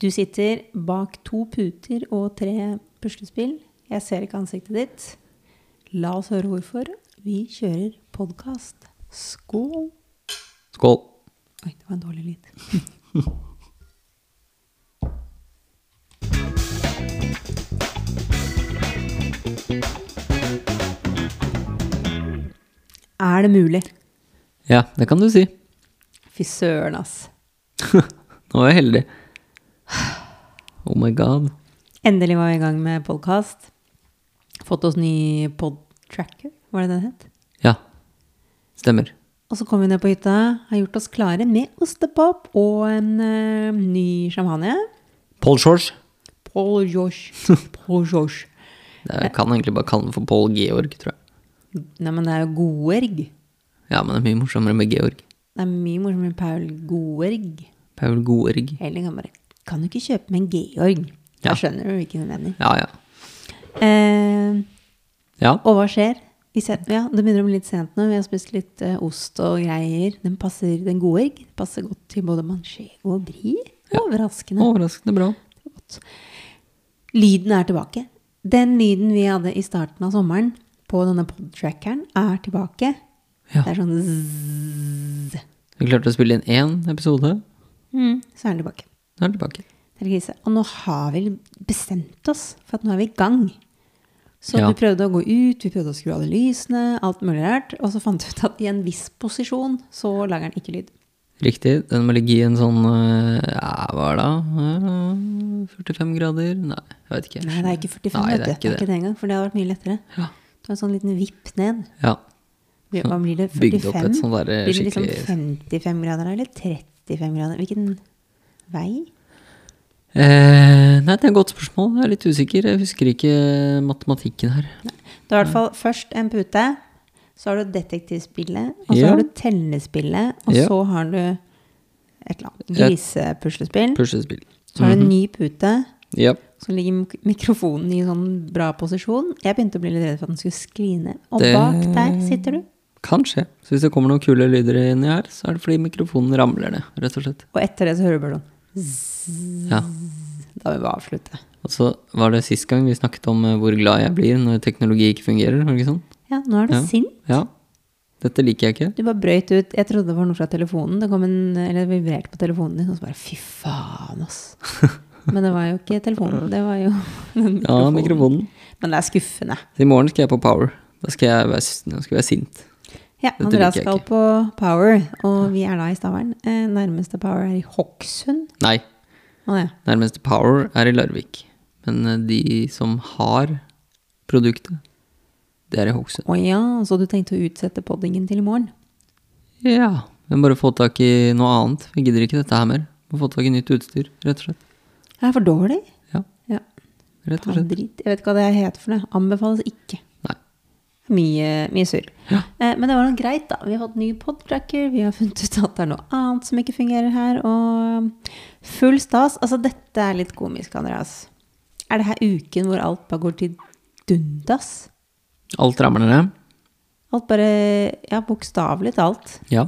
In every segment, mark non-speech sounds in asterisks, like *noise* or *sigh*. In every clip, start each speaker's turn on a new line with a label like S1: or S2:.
S1: Du sitter bak to puter og tre puslespill. Jeg ser ikke ansiktet ditt. La oss høre hvorfor. Vi kjører podkast. Skål!
S2: Skål.
S1: Oi, det var en dårlig lyd. *laughs* Er det mulig?
S2: Ja, det kan du si.
S1: Fy søren, ass.
S2: Nå er jeg heldig. Oh my god.
S1: Endelig var vi i gang med podkast. Fått oss ny podtracker, var det den het?
S2: Ja. Stemmer.
S1: Og så kom vi ned på hytta, har gjort oss klare med ostepop og en eh, ny champagne.
S2: Paul George.
S1: Paul Josh. Paul Josh.
S2: Det er, jeg kan egentlig bare kalle den for Paul Georg, tror jeg.
S1: Nei, men det er jo Goerg.
S2: Ja, men det er mye morsommere med Georg.
S1: Det er mye morsommere med Paul Goerg.
S2: Paul Goerg.
S1: Eller kan bare Kan du ikke kjøpe med en Georg? Da
S2: Ja.
S1: skjønner du hvilken hun mener.
S2: Ja, ja.
S1: Eh,
S2: Ja,
S1: og hva skjer? Vi ser, ja, det begynner å bli litt sent nå. Vi har spist litt eh, ost og greier. Den passer, den Goerg passer godt til både manchego og brie. Overraskende.
S2: overraskende bra.
S1: godt. Lyden er tilbake. Den lyden vi hadde i starten av sommeren på denne podtrackeren, er tilbake.
S2: Ja.
S1: Det er sånn zzz,
S2: Vi klarte å spille inn én episode.
S1: så er den tilbake.
S2: Nå er den tilbake.
S1: Det er krise. Og nå har vi bestemt oss, for at nå er vi i gang. Så
S2: Ja.
S1: vi prøvde å gå ut, vi prøvde å skru av alle lysene, alt mulig rart. Og så fant vi ut at i en viss posisjon så lager den ikke lyd.
S2: Riktig. Den må ligge i en sånn eh, Ja, hva er det? da? Eh, 45 grader? Nei, jeg vet ikke.
S1: Nei, det er ikke 45,
S2: Nei,
S1: vet du. Det er ikke det engang, for det hadde vært mye lettere.
S2: Ja.
S1: Det var en sånn liten vipp ned.
S2: Ja.
S1: Blir- Hva blir det? 45?
S2: Bygd opp et sånt der, eh,
S1: Blir det liksom
S2: skikkelig-
S1: 55 grader eller 35 grader? Hvilken vei?
S2: Eh, nei, det er et godt spørsmål. Jeg er litt usikker. Jeg husker ikke eh, matematikken her.
S1: Det er i hvert fall først en pute, så har du detektivspillet, og så
S2: Ja.
S1: har du tellespillet, og
S2: Ja.
S1: så har du et eller annet
S2: Et-
S1: grisepuslespill.
S2: Puslespill.
S1: Så har du en
S2: Mhm.
S1: ny pute,
S2: Ja.
S1: så ligger mik- mikrofonen i sånn bra posisjon. Jeg begynte å bli litt redd for at den skulle skline. Og
S2: Det-
S1: bak der sitter du.
S2: Kanskje. Så hvis det kommer noen kule lyder inni her, så er det fordi mikrofonen ramler ned, rett og slett.
S1: Og etter det så hører du bare sånn
S2: Ja.
S1: Da vil vi avslutte.
S2: Og så var det sist gang vi snakket om eh, hvor glad jeg blir når teknologi ikke fungerer, var det ikke sånn?
S1: Ja, nå er du
S2: Ja.
S1: sint.
S2: Ja. Dette liker jeg ikke.
S1: Du bare brøyt ut. Jeg trodde det var noe fra telefonen. Det kom en, eller det vibrerte på telefonen din, og så bare fy faen,
S2: *laughs*
S1: ass. Men det var jo ikke telefonen, det var jo *laughs* den
S2: Ja,
S1: mikrofonen.
S2: mikrofonen.
S1: Men det er skuffende.
S2: Så i morgen skal jeg på Power. Da skal jeg være, s- nå skal jeg være sint.
S1: Ja,
S2: Dette
S1: Andreas
S2: liker jeg
S1: skal
S2: ikke.
S1: på Power, og vi er da i Stavern. Eh, nærmeste Power er i Hokksund.
S2: Nei,
S1: Å ja.
S2: nærmeste Power er i Larvik. Men eh, de som har produktet, det er i Hokksund.
S1: Å ja, så du tenkte å utsette poddingen til i morgen?
S2: Ja. Vi må bare få tak i noe annet. Vi gidder ikke dette her mer. Vi må få tak i nytt utstyr, rett og slett.
S1: Er det for dårlig?
S2: Ja,
S1: Ja.
S2: rett og
S1: Faen
S2: slett.
S1: drit. Jeg vet ikke hva det heter for noe. Anbefales ikke.
S2: Nei.
S1: Mye, mye surr.
S2: Ja.
S1: Eh, men det var noe greit, da. Vi har fått ny podtracker, vi har *laughs* funnet ut at det er noe annet som ikke fungerer her, og full stas. Altså, dette er litt komisk, Andreas. Er det her uken hvor alt bare går til dundas?
S2: Alt ramler ned.
S1: Alt bare Ja, bokstavelig talt.
S2: Ja.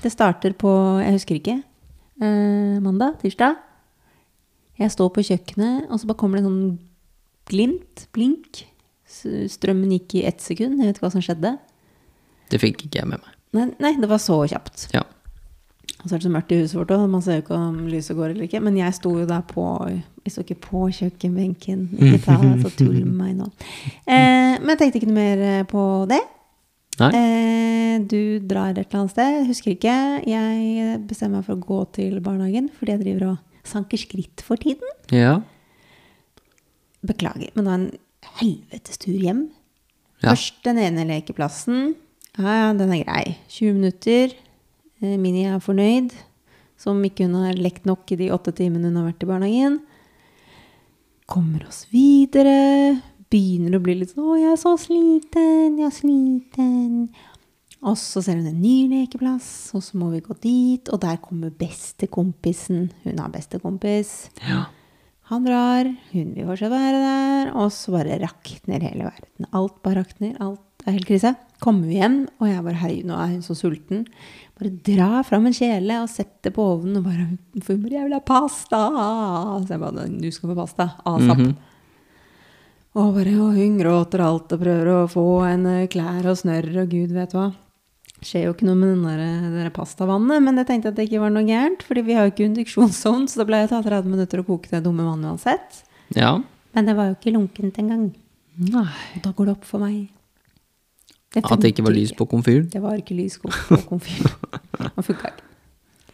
S1: Det starter på Jeg husker ikke. Eh, mandag? Tirsdag? Jeg står på kjøkkenet, og så bare kommer det en sånn glimt, blink. S- Strømmen gikk i ett sekund. Jeg vet ikke hva som skjedde.
S2: Det fikk ikke jeg med meg.
S1: Nei, nei det var så kjapt.
S2: Ja.
S1: Og så er det så mørkt i huset vårt òg, man ser jo ikke om lyset går eller ikke. Men jeg sto jo da på Jeg sto ikke på kjøkkenbenken. Ikke ta så tull med meg nå. Eh, men jeg tenkte ikke noe mer eh, på det.
S2: Nei.
S1: Eh, du drar et eller annet sted, jeg husker ikke. Jeg bestemmer meg for å gå til barnehagen fordi jeg driver og sanker skritt for tiden.
S2: Ja.
S1: Beklager, men det var en helvetes tur hjem.
S2: Ja.
S1: Først den ene lekeplassen. Ja, ja, den er grei. 20 minutter. Eh, Mini er fornøyd. Som ikke hun har lekt nok i de åtte timene hun har vært i barnehagen. Kommer oss videre. Begynner å bli litt sånn 'Å, jeg er så sliten. Jeg er sliten.' Og så ser hun en ny lekeplass, og så må vi gå dit. Og der kommer bestekompisen. Hun har bestekompis.
S2: ja. Han
S1: Han drar, hun vil fortsatt være der, og så bare rakner hele verden. Alt bare rakner, alt er helt krise. kommer vi hjem, og jeg bare herregud, nå er hun så sulten. Bare dra fram en kjele og sett det på ovnen og bare For hun bare 'Jeg vil ha pasta!' Så jeg bare 'Du skal få pasta asap'.
S2: Mhm.
S1: Og bare og hun gråter alt og prøver å få henne klær og snørr og gud vet hva. Skjer jo ikke noe med den der, det der pastavannet, men jeg tenkte at det ikke var noe gærent, fordi vi har jo ikke induksjonsovn, så det ble jo ta 30 minutter å koke det dumme vannet uansett.
S2: Ja.
S1: Men det var jo ikke lunkent engang.
S2: Nei.
S1: Og da går det opp for meg.
S2: At det ikke var
S1: funker
S2: lys på komfyren?
S1: Det var ikke lys på
S2: *laughs*
S1: komfyren. Det funka ikke.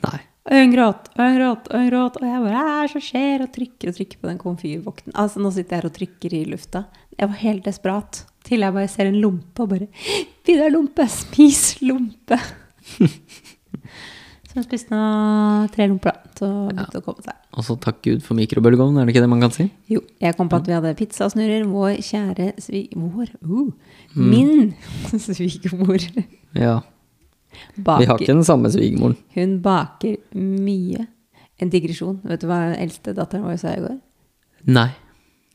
S2: Nei.
S1: Og hun gråt, og hun gråt, og hun gråt. Og jeg bare Hva er det som skjer? Og trykker og trykker på den komfyrvokten. Altså, nå sitter jeg her og trykker i lufta. Jeg var helt desperat. Til jeg bare ser en lompe og bare Vidar Lompe, spis
S2: *laughs*
S1: lompe! så hun spiste nå tre lomper, da. Så begynte det å komme seg.
S2: Og så Altså, takk Gud for mikrobølgeovn, er det ikke det man kan si?
S1: Jo, jeg kom på at vi hadde pizzasnurrer. Vår kjære svi... Vår? Uh,
S2: Mm.
S1: Min *laughs* svigermor
S2: Ja. Vi har
S1: baker.
S2: ikke den samme svigermoren.
S1: Hun baker mye. En digresjon. Vet du hva eldste datteren vår sa i går?
S2: Nei.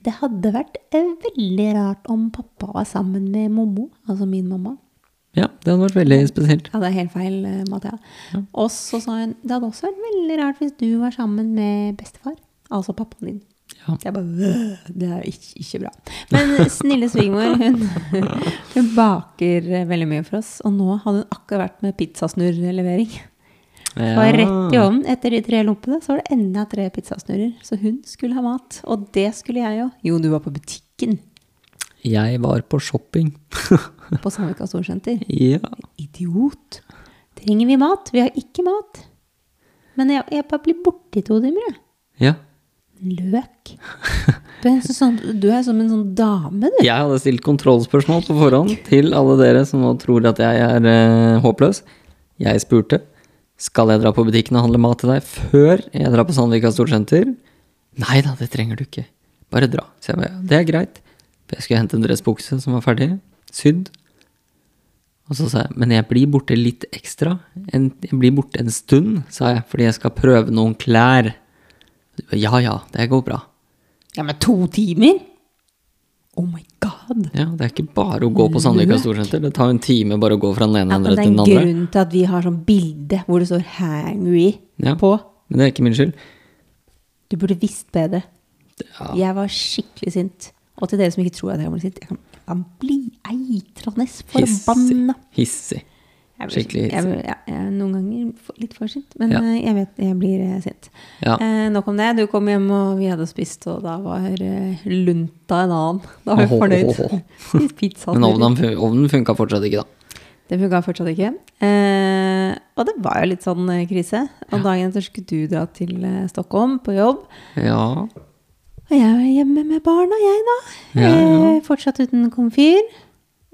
S1: Det hadde vært eh, veldig rart om pappa var sammen med mommo, altså min mamma.
S2: Ja, det hadde vært veldig spesielt.
S1: Ja, det er helt feil, eh, Mathea. Og så sa hun det hadde også vært veldig rart hvis du var sammen med bestefar, altså pappaen din.
S2: Ja.
S1: Jeg bare «Øh, Det er ikke, ikke bra. Men snille svigermor, hun, *laughs* hun baker eh, veldig mye for oss. Og nå hadde hun akkurat vært med pizzasnurrlevering.
S2: Ja.
S1: Og rett i ovnen etter de tre lompene så var det enda tre pizzasnurrer. Så hun skulle ha mat. Og det skulle jeg òg. Jo, du var på butikken.
S2: Jeg var på shopping. *laughs*
S1: på Sandvika Storsenter.
S2: ja.
S1: Idiot! Trenger vi mat? Vi har ikke mat. Men jeg, jeg bare blir borte i to timer, jeg.
S2: ja.
S1: Løk. *laughs* Du er, så sånn, du er som en sånn dame, du.
S2: Jeg hadde stilt kontrollspørsmål på forhånd til alle dere som nå tror at jeg er eh, håpløs. Jeg spurte skal jeg dra på butikken og handle mat til deg før jeg drar på Sandvika Storsenter. Nei da, det trenger du ikke. Bare dra. Så jeg bare, ja, det er greit. For jeg skulle hente en dressbukse som var ferdig sydd. Og så sa jeg, men jeg blir borte litt ekstra. En, jeg blir borte en stund, sa jeg, fordi jeg skal prøve noen klær. Og du bare, Ja ja, det går bra.
S1: Ja, men to timer? Oh my god.
S2: Ja, det er ikke bare å gå på Sandvika Storsenter. Det tar en time bare å gå fra den ene
S1: Ja, men det
S2: enden
S1: er
S2: til
S1: en
S2: den andre.
S1: grunn til at vi har sånn bilde hvor det står 'hangry'
S2: Ja.
S1: på.
S2: Men det er ikke min skyld.
S1: Du burde visst bedre.
S2: Ja.
S1: Jeg var skikkelig sint. Og til dere som ikke tror at jeg kan bli sint, jeg kan, jeg kan bli eitrende
S2: Hissig.
S1: forbanna.
S2: Hissig.
S1: Jeg blir sint.
S2: Skikkelig
S1: Jeg,
S2: hissig.
S1: blir- ja, jeg er noen ganger for- litt for sint, men
S2: Ja.
S1: eh, jeg vet jeg blir eh, sint.
S2: Ja.
S1: Eh, nok om det. Du kom hjem, og vi hadde spist, og da var eh, lunta en annen. Da var jeg fornøyd. *laughs* Spist pizza.
S2: Men ovnen, fun- ovnen funka fortsatt ikke, da.
S1: Det funka fortsatt ikke. Eh, og det var jo litt sånn eh, krise. Og dagen etter skulle du dra til eh, Stockholm på jobb.
S2: Ja.
S1: Og jeg var hjemme med barna, jeg da.
S2: Ja, ja.
S1: Eh, fortsatt uten komfyr.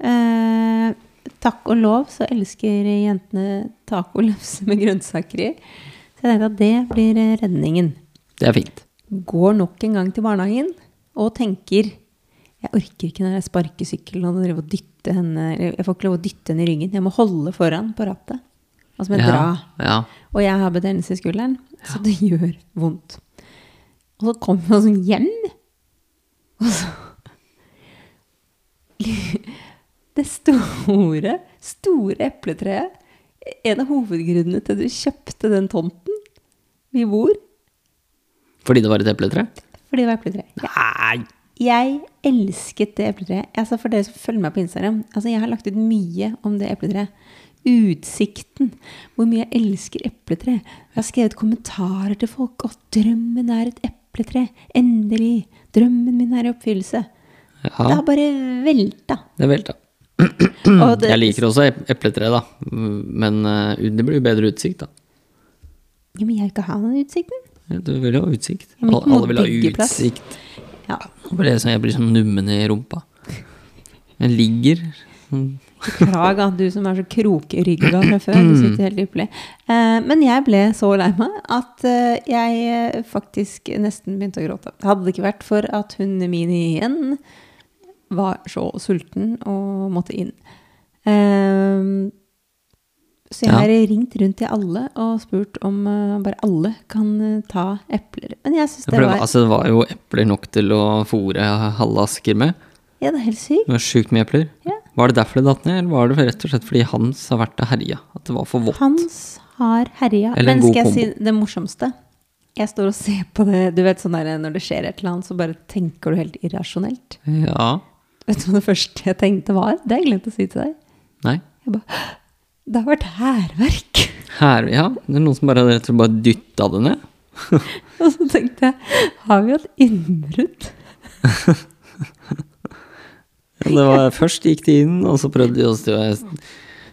S1: Eh, takk og lov så elsker jentene tacolefse med grønnsaker i. Så jeg tenkte at det blir eh, redningen.
S2: Det er fint.
S1: Går nok en gang til barnehagen og tenker jeg orker ikke den der sparkesykkelen og drive og dytte henne eller Jeg får ikke lov å dytte henne i ryggen. Jeg må holde foran på rattet. Og så må jeg
S2: ja.
S1: dra.
S2: Ja.
S1: Og jeg har betennelse i skulderen, så det gjør vondt. Og så kom jeg sånn hjem, og så *laughs* Det store, store epletreet. En av hovedgrunnene til at du kjøpte den tomten vi bor,
S2: Fordi det var et epletre?
S1: fordi det var epletre.
S2: Nei!
S1: Jeg elsket det epletreet. Altså for dere som følger meg på Instagram, altså jeg har lagt ut mye om det epletreet. Utsikten. Hvor mye jeg elsker epletre. Jeg har skrevet kommentarer til folk. Å, drømmen er et epletre. Endelig. Drømmen min er i oppfyllelse. Det
S2: Ja,
S1: har bare velta.
S2: det velta.
S1: Og det-
S2: Jeg liker også ep- epletre, da. Men eh, det blir jo bedre utsikt, da.
S1: Ja, men jeg vil ikke ha den utsikten.
S2: Du vil jo ha utsikt.
S1: Ja, men ikke
S2: Alle alle
S1: noe
S2: vil ha
S1: byggeplass.
S2: utsikt.
S1: Ja.
S2: Nå ble jeg sånn, jeg blir sånn nummen i rumpa. Jeg ligger sånn
S1: Beklager at du som er så krokrygga fra før. Du sitter helt ypperlig. Eh, men jeg ble så lei meg at eh, jeg eh, faktisk nesten begynte å gråte. Hadde det ikke vært for at hunden min igjen var så sulten og måtte inn. Eh, så jeg
S2: Ja.
S1: har ringt rundt til alle og spurt om eh, bare alle kan eh, ta epler. Men jeg syns
S2: Ja,
S1: det
S2: for det, var,
S1: var
S2: altså, det var jo epler nok til å fòre halve Asker med.
S1: Ja, det er helt sykt.
S2: Det var sjukt med epler.
S1: Ja.
S2: Var det derfor det datt ned, eller var det rett og slett fordi Hans har vært og herja? At det var for vått?
S1: Hans har herja.
S2: Eller
S1: Men
S2: en god
S1: skal jeg si
S2: kombo.
S1: det morsomste? Jeg står og ser på det Du vet sånn der når det skjer et eller annet, så bare tenker du helt irrasjonelt.
S2: Ja.
S1: Vet du hva det første jeg tenkte var? Det har jeg glemt å si til deg.
S2: Nei.
S1: Jeg bare Det har vært hærverk! *laughs*
S2: Her, ja. Det er noen som bare rett og slett bare dytta det ned.
S1: Og så tenkte jeg Har vi hatt innbrudd?
S2: Ja, Det var,
S1: *laughs*
S2: først gikk de inn, og så prøvde de å stjå-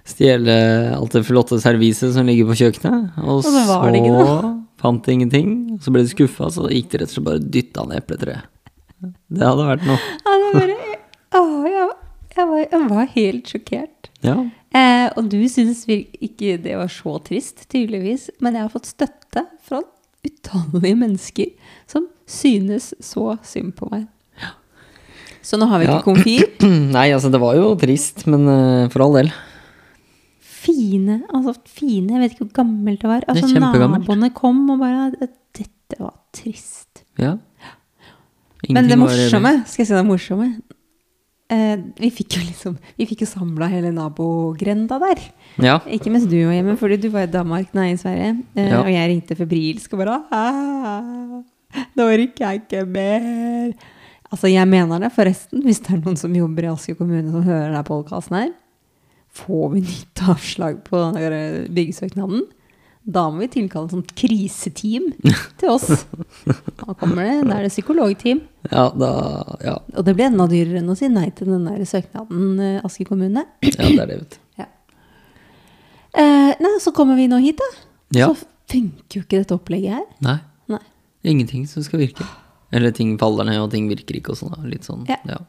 S2: stjele alt det flotte serviset som ligger på kjøkkenet. Og,
S1: Og så var det ikke
S2: så
S1: *laughs*
S2: fant de ingenting. og Så ble de skuffa, så gikk de rett og slett bare og dytta ned epletreet. Det hadde vært noe.
S1: Ja, det var bare Å, jeg, jeg, var, jeg var helt sjokkert.
S2: Ja.
S1: Eh, og du syns vir- ikke det var så trist, tydeligvis, men jeg har fått støtte fra utallige mennesker som synes så synd på meg. Så nå har vi
S2: Ja.
S1: ikke komfyr.
S2: *clears throat* Nei, altså, det var jo trist, men eh, for all del.
S1: Fine, altså fine, jeg vet ikke hvor gammelt det var.
S2: er
S1: Altså
S2: kjempegammelt.
S1: Naboene kom og bare Dette var trist.
S2: Ja.
S1: Men det
S2: Ingenting var evig.
S1: morsomme, skal jeg si det morsomme eh, Vi fikk jo liksom Vi fikk jo samla hele nabogrenda der.
S2: Ja.
S1: Ikke mens du var hjemme, fordi du var i Danmark, nei, i Sverige. Eh,
S2: Ja.
S1: Og jeg ringte febrilsk og bare «Ah, Nå orker jeg ikke mer. Altså, jeg mener det, forresten. Hvis det er noen som jobber i Asker kommune som hører denne podkasten her, får vi nytt avslag på den der eh, byggesøknaden. Da må vi tilkalle et sånt kriseteam til oss. Da kommer det. Da er det psykologteam.
S2: ja, da Ja,
S1: Og det blir enda dyrere enn å si nei til den der søknaden, eh, Asker kommune.
S2: ja det er det, vet du.
S1: Ja. Eh, nei, så kommer vi nå hit, da.
S2: Ja.
S1: Så funker jo ikke dette opplegget her.
S2: *clears throat* Nei.
S1: Nei.
S2: Ingenting som skal virke. Eller ting faller ned, og ting virker ikke, og sånn. da. Litt sånn.
S1: Ja.
S2: Ja.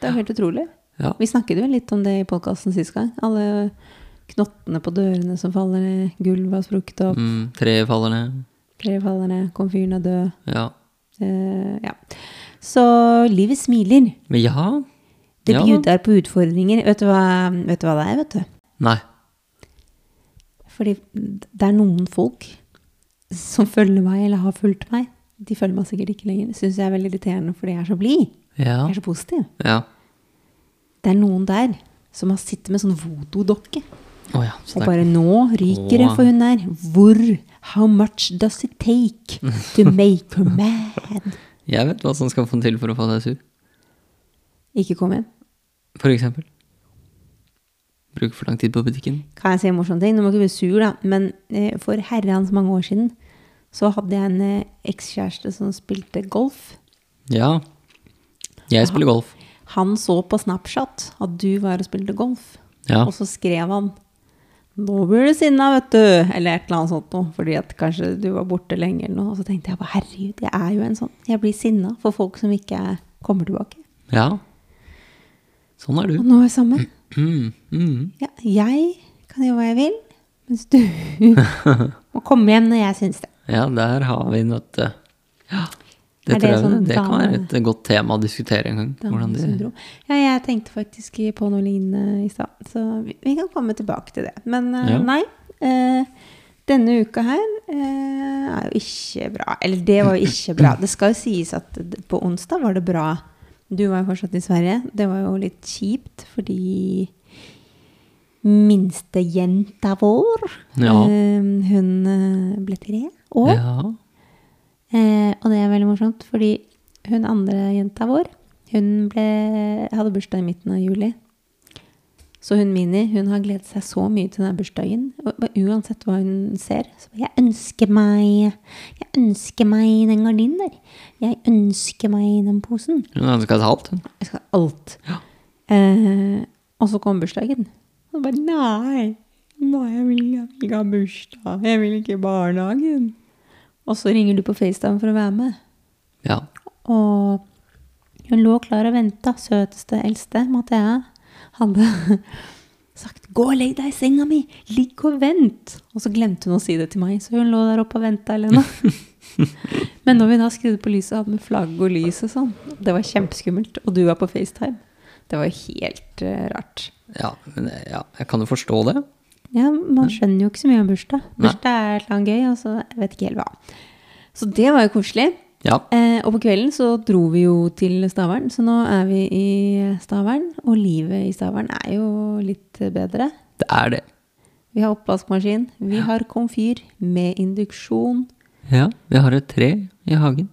S1: Det er jo helt utrolig.
S2: ja.
S1: Vi snakket jo litt om det i podkasten sist gang. Alle knottene på dørene som faller ned, gulvet har sprukket opp,
S2: Mm, treet faller ned.
S1: flere faller ned, komfyren er død.
S2: Ja.
S1: Eh, ja. Så livet smiler.
S2: Men ja.
S1: Det
S2: Ja da.
S1: bjuder på utfordringer. Vet du, hva, vet du hva det er, vet du?
S2: Nei.
S1: Fordi det er noen folk som følger meg, eller har fulgt meg. De følger meg sikkert ikke lenger. Syns jeg er veldig irriterende fordi jeg er så blid.
S2: Ja.
S1: Jeg er så positiv.
S2: Ja.
S1: Det er noen der som har sittet med sånn voodoo-dokke.
S2: Å ja. Så
S1: Og
S2: det er
S1: bare nå ryker det for hun der. Hvor? How much does it take to make her mad?
S2: Jeg vet hva som skal få den til for å få deg sur.
S1: Ikke kom hjem.
S2: For eksempel. Bruke for lang tid på butikken.
S1: Kan jeg si en morsom ting? Du må ikke bli sur, da. Men eh, for herrens mange år siden så hadde jeg en eh, ekskjæreste som spilte golf.
S2: Ja. Jeg spiller golf.
S1: Han så på Snapchat at du var og spilte golf.
S2: Ja.
S1: Og så skrev han Nå blir du sinna, vet du. Eller et eller annet sånt noe. Fordi at kanskje du var borte lenge eller noe. Og så tenkte jeg bare herregud, jeg er jo en sånn. Jeg blir sinna for folk som ikke kommer tilbake.
S2: Ja. Sånn er
S1: Og
S2: du.
S1: nå er vi sammen.
S2: Mm. Mm.
S1: Ja, jeg kan gjøre hva jeg vil, mens du må komme hjem når jeg syns det.
S2: Ja, der har vi den, vet du. Ja.
S1: Er
S2: Det,
S1: det
S2: tror jeg,
S1: sånn
S2: det kan være
S1: dame-
S2: et godt tema å diskutere en gang. Hvordan det,
S1: Down-syndrom. Ja, jeg tenkte faktisk på noe lignende i stad, så vi, vi kan komme tilbake til det. Men eh,
S2: Ja.
S1: nei. eh, denne uka her eh, er jo ikke bra. Eller det var jo ikke bra. Det skal jo sies at d- på onsdag var det bra. Du var jo fortsatt i Sverige. Det var jo litt kjipt fordi minstejenta vår
S2: Ja.
S1: eh, Hun eh, ble tre år.
S2: ja.
S1: Eh, og det er veldig morsomt, fordi hun andre jenta vår, hun ble, hadde bursdag i midten av juli. Så hun Mini hun har gledet seg så mye til denne bursdagen. Og bare uansett hva hun ser, så bare, jeg ønsker meg jeg ønsker meg den gardinen der. Jeg ønsker meg den posen.
S2: Hun ønska et halvt, hun.
S1: Jeg skal ha alt. Eh, og så kom bursdagen. Og bare nei, nei jeg, vil, jeg vil ikke ha bursdag. Jeg vil ikke i barnehagen. Og så ringer du på FaceTime for å være med.
S2: Ja.
S1: Og hun lå klar og venta, søteste eldste Mathea hadde *laughs* sagt 'gå og legg deg i senga mi, ligg og vent'. Og så glemte hun å si det til meg, så hun lå der oppe og venta, Elena. Men når vi da skrudde på lyset og hadde med flagg og lys og sånn, det var kjempeskummelt. Og du var på FaceTime. Det var helt eh, rart.
S2: Ja, men det- ja, jeg kan jo forstå det.
S1: Ja, man skjønner jo ikke så mye om bursdag.
S2: Nei.
S1: Bursdag er et eller annet gøy, og så jeg vet ikke helt hva. Så det var jo koselig.
S2: Ja.
S1: Eh, og på kvelden så dro vi jo til Stavern, så nå er vi i Stavern. Og livet i Stavern er jo litt bedre.
S2: Det er det.
S1: Vi har oppvaskmaskin, vi har komfyr med induksjon.
S2: Ja, vi har et tre i hagen.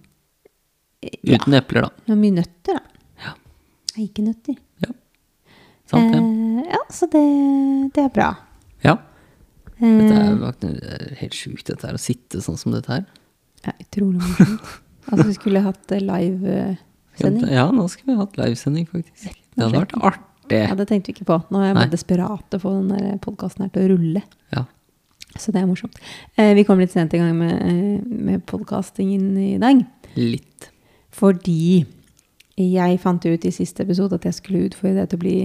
S2: Uten epler, da.
S1: Det er mye nøtter, da.
S2: Ja.
S1: Nei, Ikke nøtter.
S2: Ja. Sant, det.
S1: Eh, ja, så det, det er bra.
S2: Ja.
S1: Eh,
S2: Dette er, jo vakt- det er helt sjukt, dette her. Å sitte sånn som dette her.
S1: ja, utrolig morsomt. Altså, vi skulle hatt eh, live-sending.
S2: Ja, nå skulle vi hatt livesending, faktisk. Det hadde vært artig.
S1: Ja, det tenkte vi ikke på. Nå er jeg
S2: Nei.
S1: bare desperat å få den podkasten her til å rulle.
S2: Ja.
S1: Så det er morsomt. Eh, vi kom litt sent i gang med, eh, med podkastingen i dag.
S2: Litt.
S1: Fordi jeg fant ut i siste episode at jeg skulle utfordre deg til å bli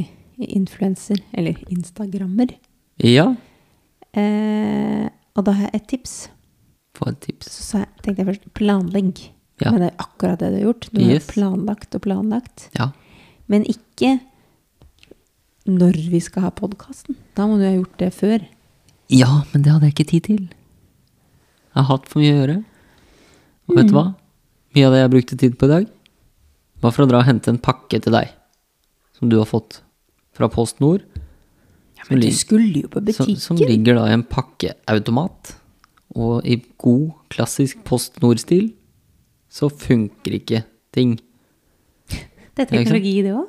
S1: influenser, eller instagrammer.
S2: Ja.
S1: Eh, og da har jeg et tips.
S2: Få et tips.
S1: Så sa jeg, tenkte jeg først planlegg.
S2: Ja.
S1: Men det er akkurat det du har gjort. Du har
S2: Yes.
S1: planlagt og planlagt.
S2: Ja.
S1: Men ikke når vi skal ha podkasten. Da må du ha gjort det før.
S2: ja, men det hadde jeg ikke tid til. Jeg har hatt for mye å gjøre. Og vet du hva? Mye av det jeg brukte tid på i dag, var for å dra og hente en pakke til deg. Som du har fått fra Post Nord. men du
S1: skulle jo på
S2: Som, som ligger da i en pakkeautomat. Og i god, klassisk Post Nord-stil så funker ikke ting.
S1: Det er
S2: Ja, ikke sant?
S1: teknologi, det òg.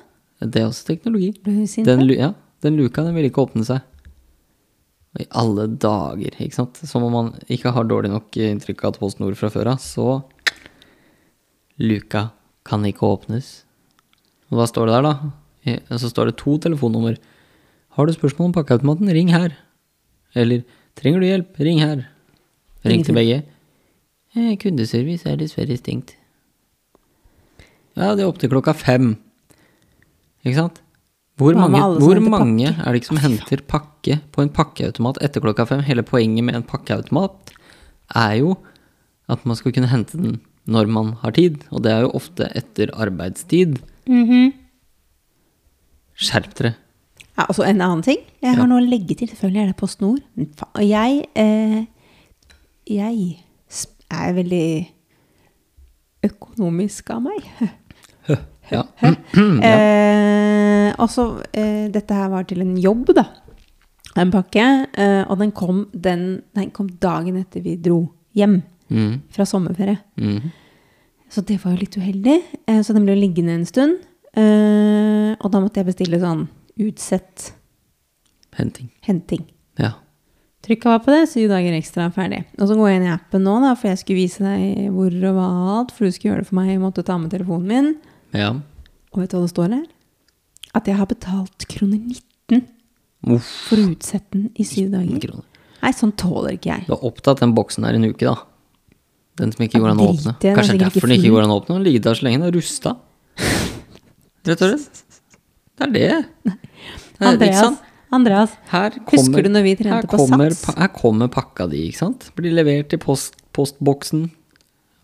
S2: Det er også teknologi.
S1: Ble hun sint?
S2: Den,
S1: da?
S2: lu- ja, den luka den ville ikke åpne seg. Og I alle dager, ikke sant. Som om man ikke har dårlig nok inntrykk av Post Nord fra før av, så Luka kan ikke åpnes. Og hva står det der, da? I- Og så står det to telefonnummer. Har du spørsmål om pakkeautomaten, ring her. Eller trenger du hjelp, ring her. Ring til begge. Eh, Kundeservice er dessverre stengt. Ja, det er opp til klokka fem. Ikke sant? Hvor
S1: Hva med
S2: mange,
S1: alle som
S2: hvor
S1: henter
S2: mange
S1: pakke?
S2: er det ikke som henter pakke på en pakkeautomat etter klokka fem? Hele poenget med en pakkeautomat er jo at man skal kunne hente den når man har tid, og det er jo ofte etter arbeidstid. Skjerp dere.
S1: Ja, og så en annen ting. Jeg har noe å legge til. Selvfølgelig er det Post Nord. Men fa- Og jeg, eh, jeg sp- er veldig økonomisk av meg.
S2: Ja. Mm.
S1: Eh, og så eh, Dette her var til en jobb, da. En pakke. Eh, og den kom, den, den kom dagen etter vi dro hjem
S2: Mm,
S1: fra sommerferie.
S2: mm.
S1: Så det var jo litt uheldig. Eh, Så den ble jo liggende en stund. Eh, Og da måtte jeg bestille sånn utsett
S2: Henting.
S1: henting.
S2: Ja.
S1: Trykket var på det, syv dager ekstra er ferdig. Og så går jeg inn i appen nå, da, for jeg skulle vise deg hvor og hva alt. For du skulle gjøre det for meg. Jeg måtte ta med telefonen min.
S2: ja.
S1: Og vet du hva det står her? At jeg har betalt kroner 19
S2: Uff.
S1: for å utsette den i syv dager.
S2: Kroner.
S1: Nei, sånn tåler ikke jeg.
S2: Du har opptatt den boksen her en uke, da. Den som ikke går an å
S1: Drit i
S2: åpne.
S1: det, den er
S2: Kanskje det er
S1: sikkert ikke
S2: derfor den ikke
S1: full.
S2: går an å åpne. Den har ligget der så lenge, den
S1: *laughs*
S2: er rusta. Rett og slett. Det er det. Her, ikke
S1: Andreas,
S2: sant?
S1: Andreas
S2: Her kommer,
S1: Husker du når vi trente
S2: her
S1: på
S2: kommer,
S1: Sats?
S2: pa- Her kommer pakka di, ikke sant? Blir levert til post, postboksen.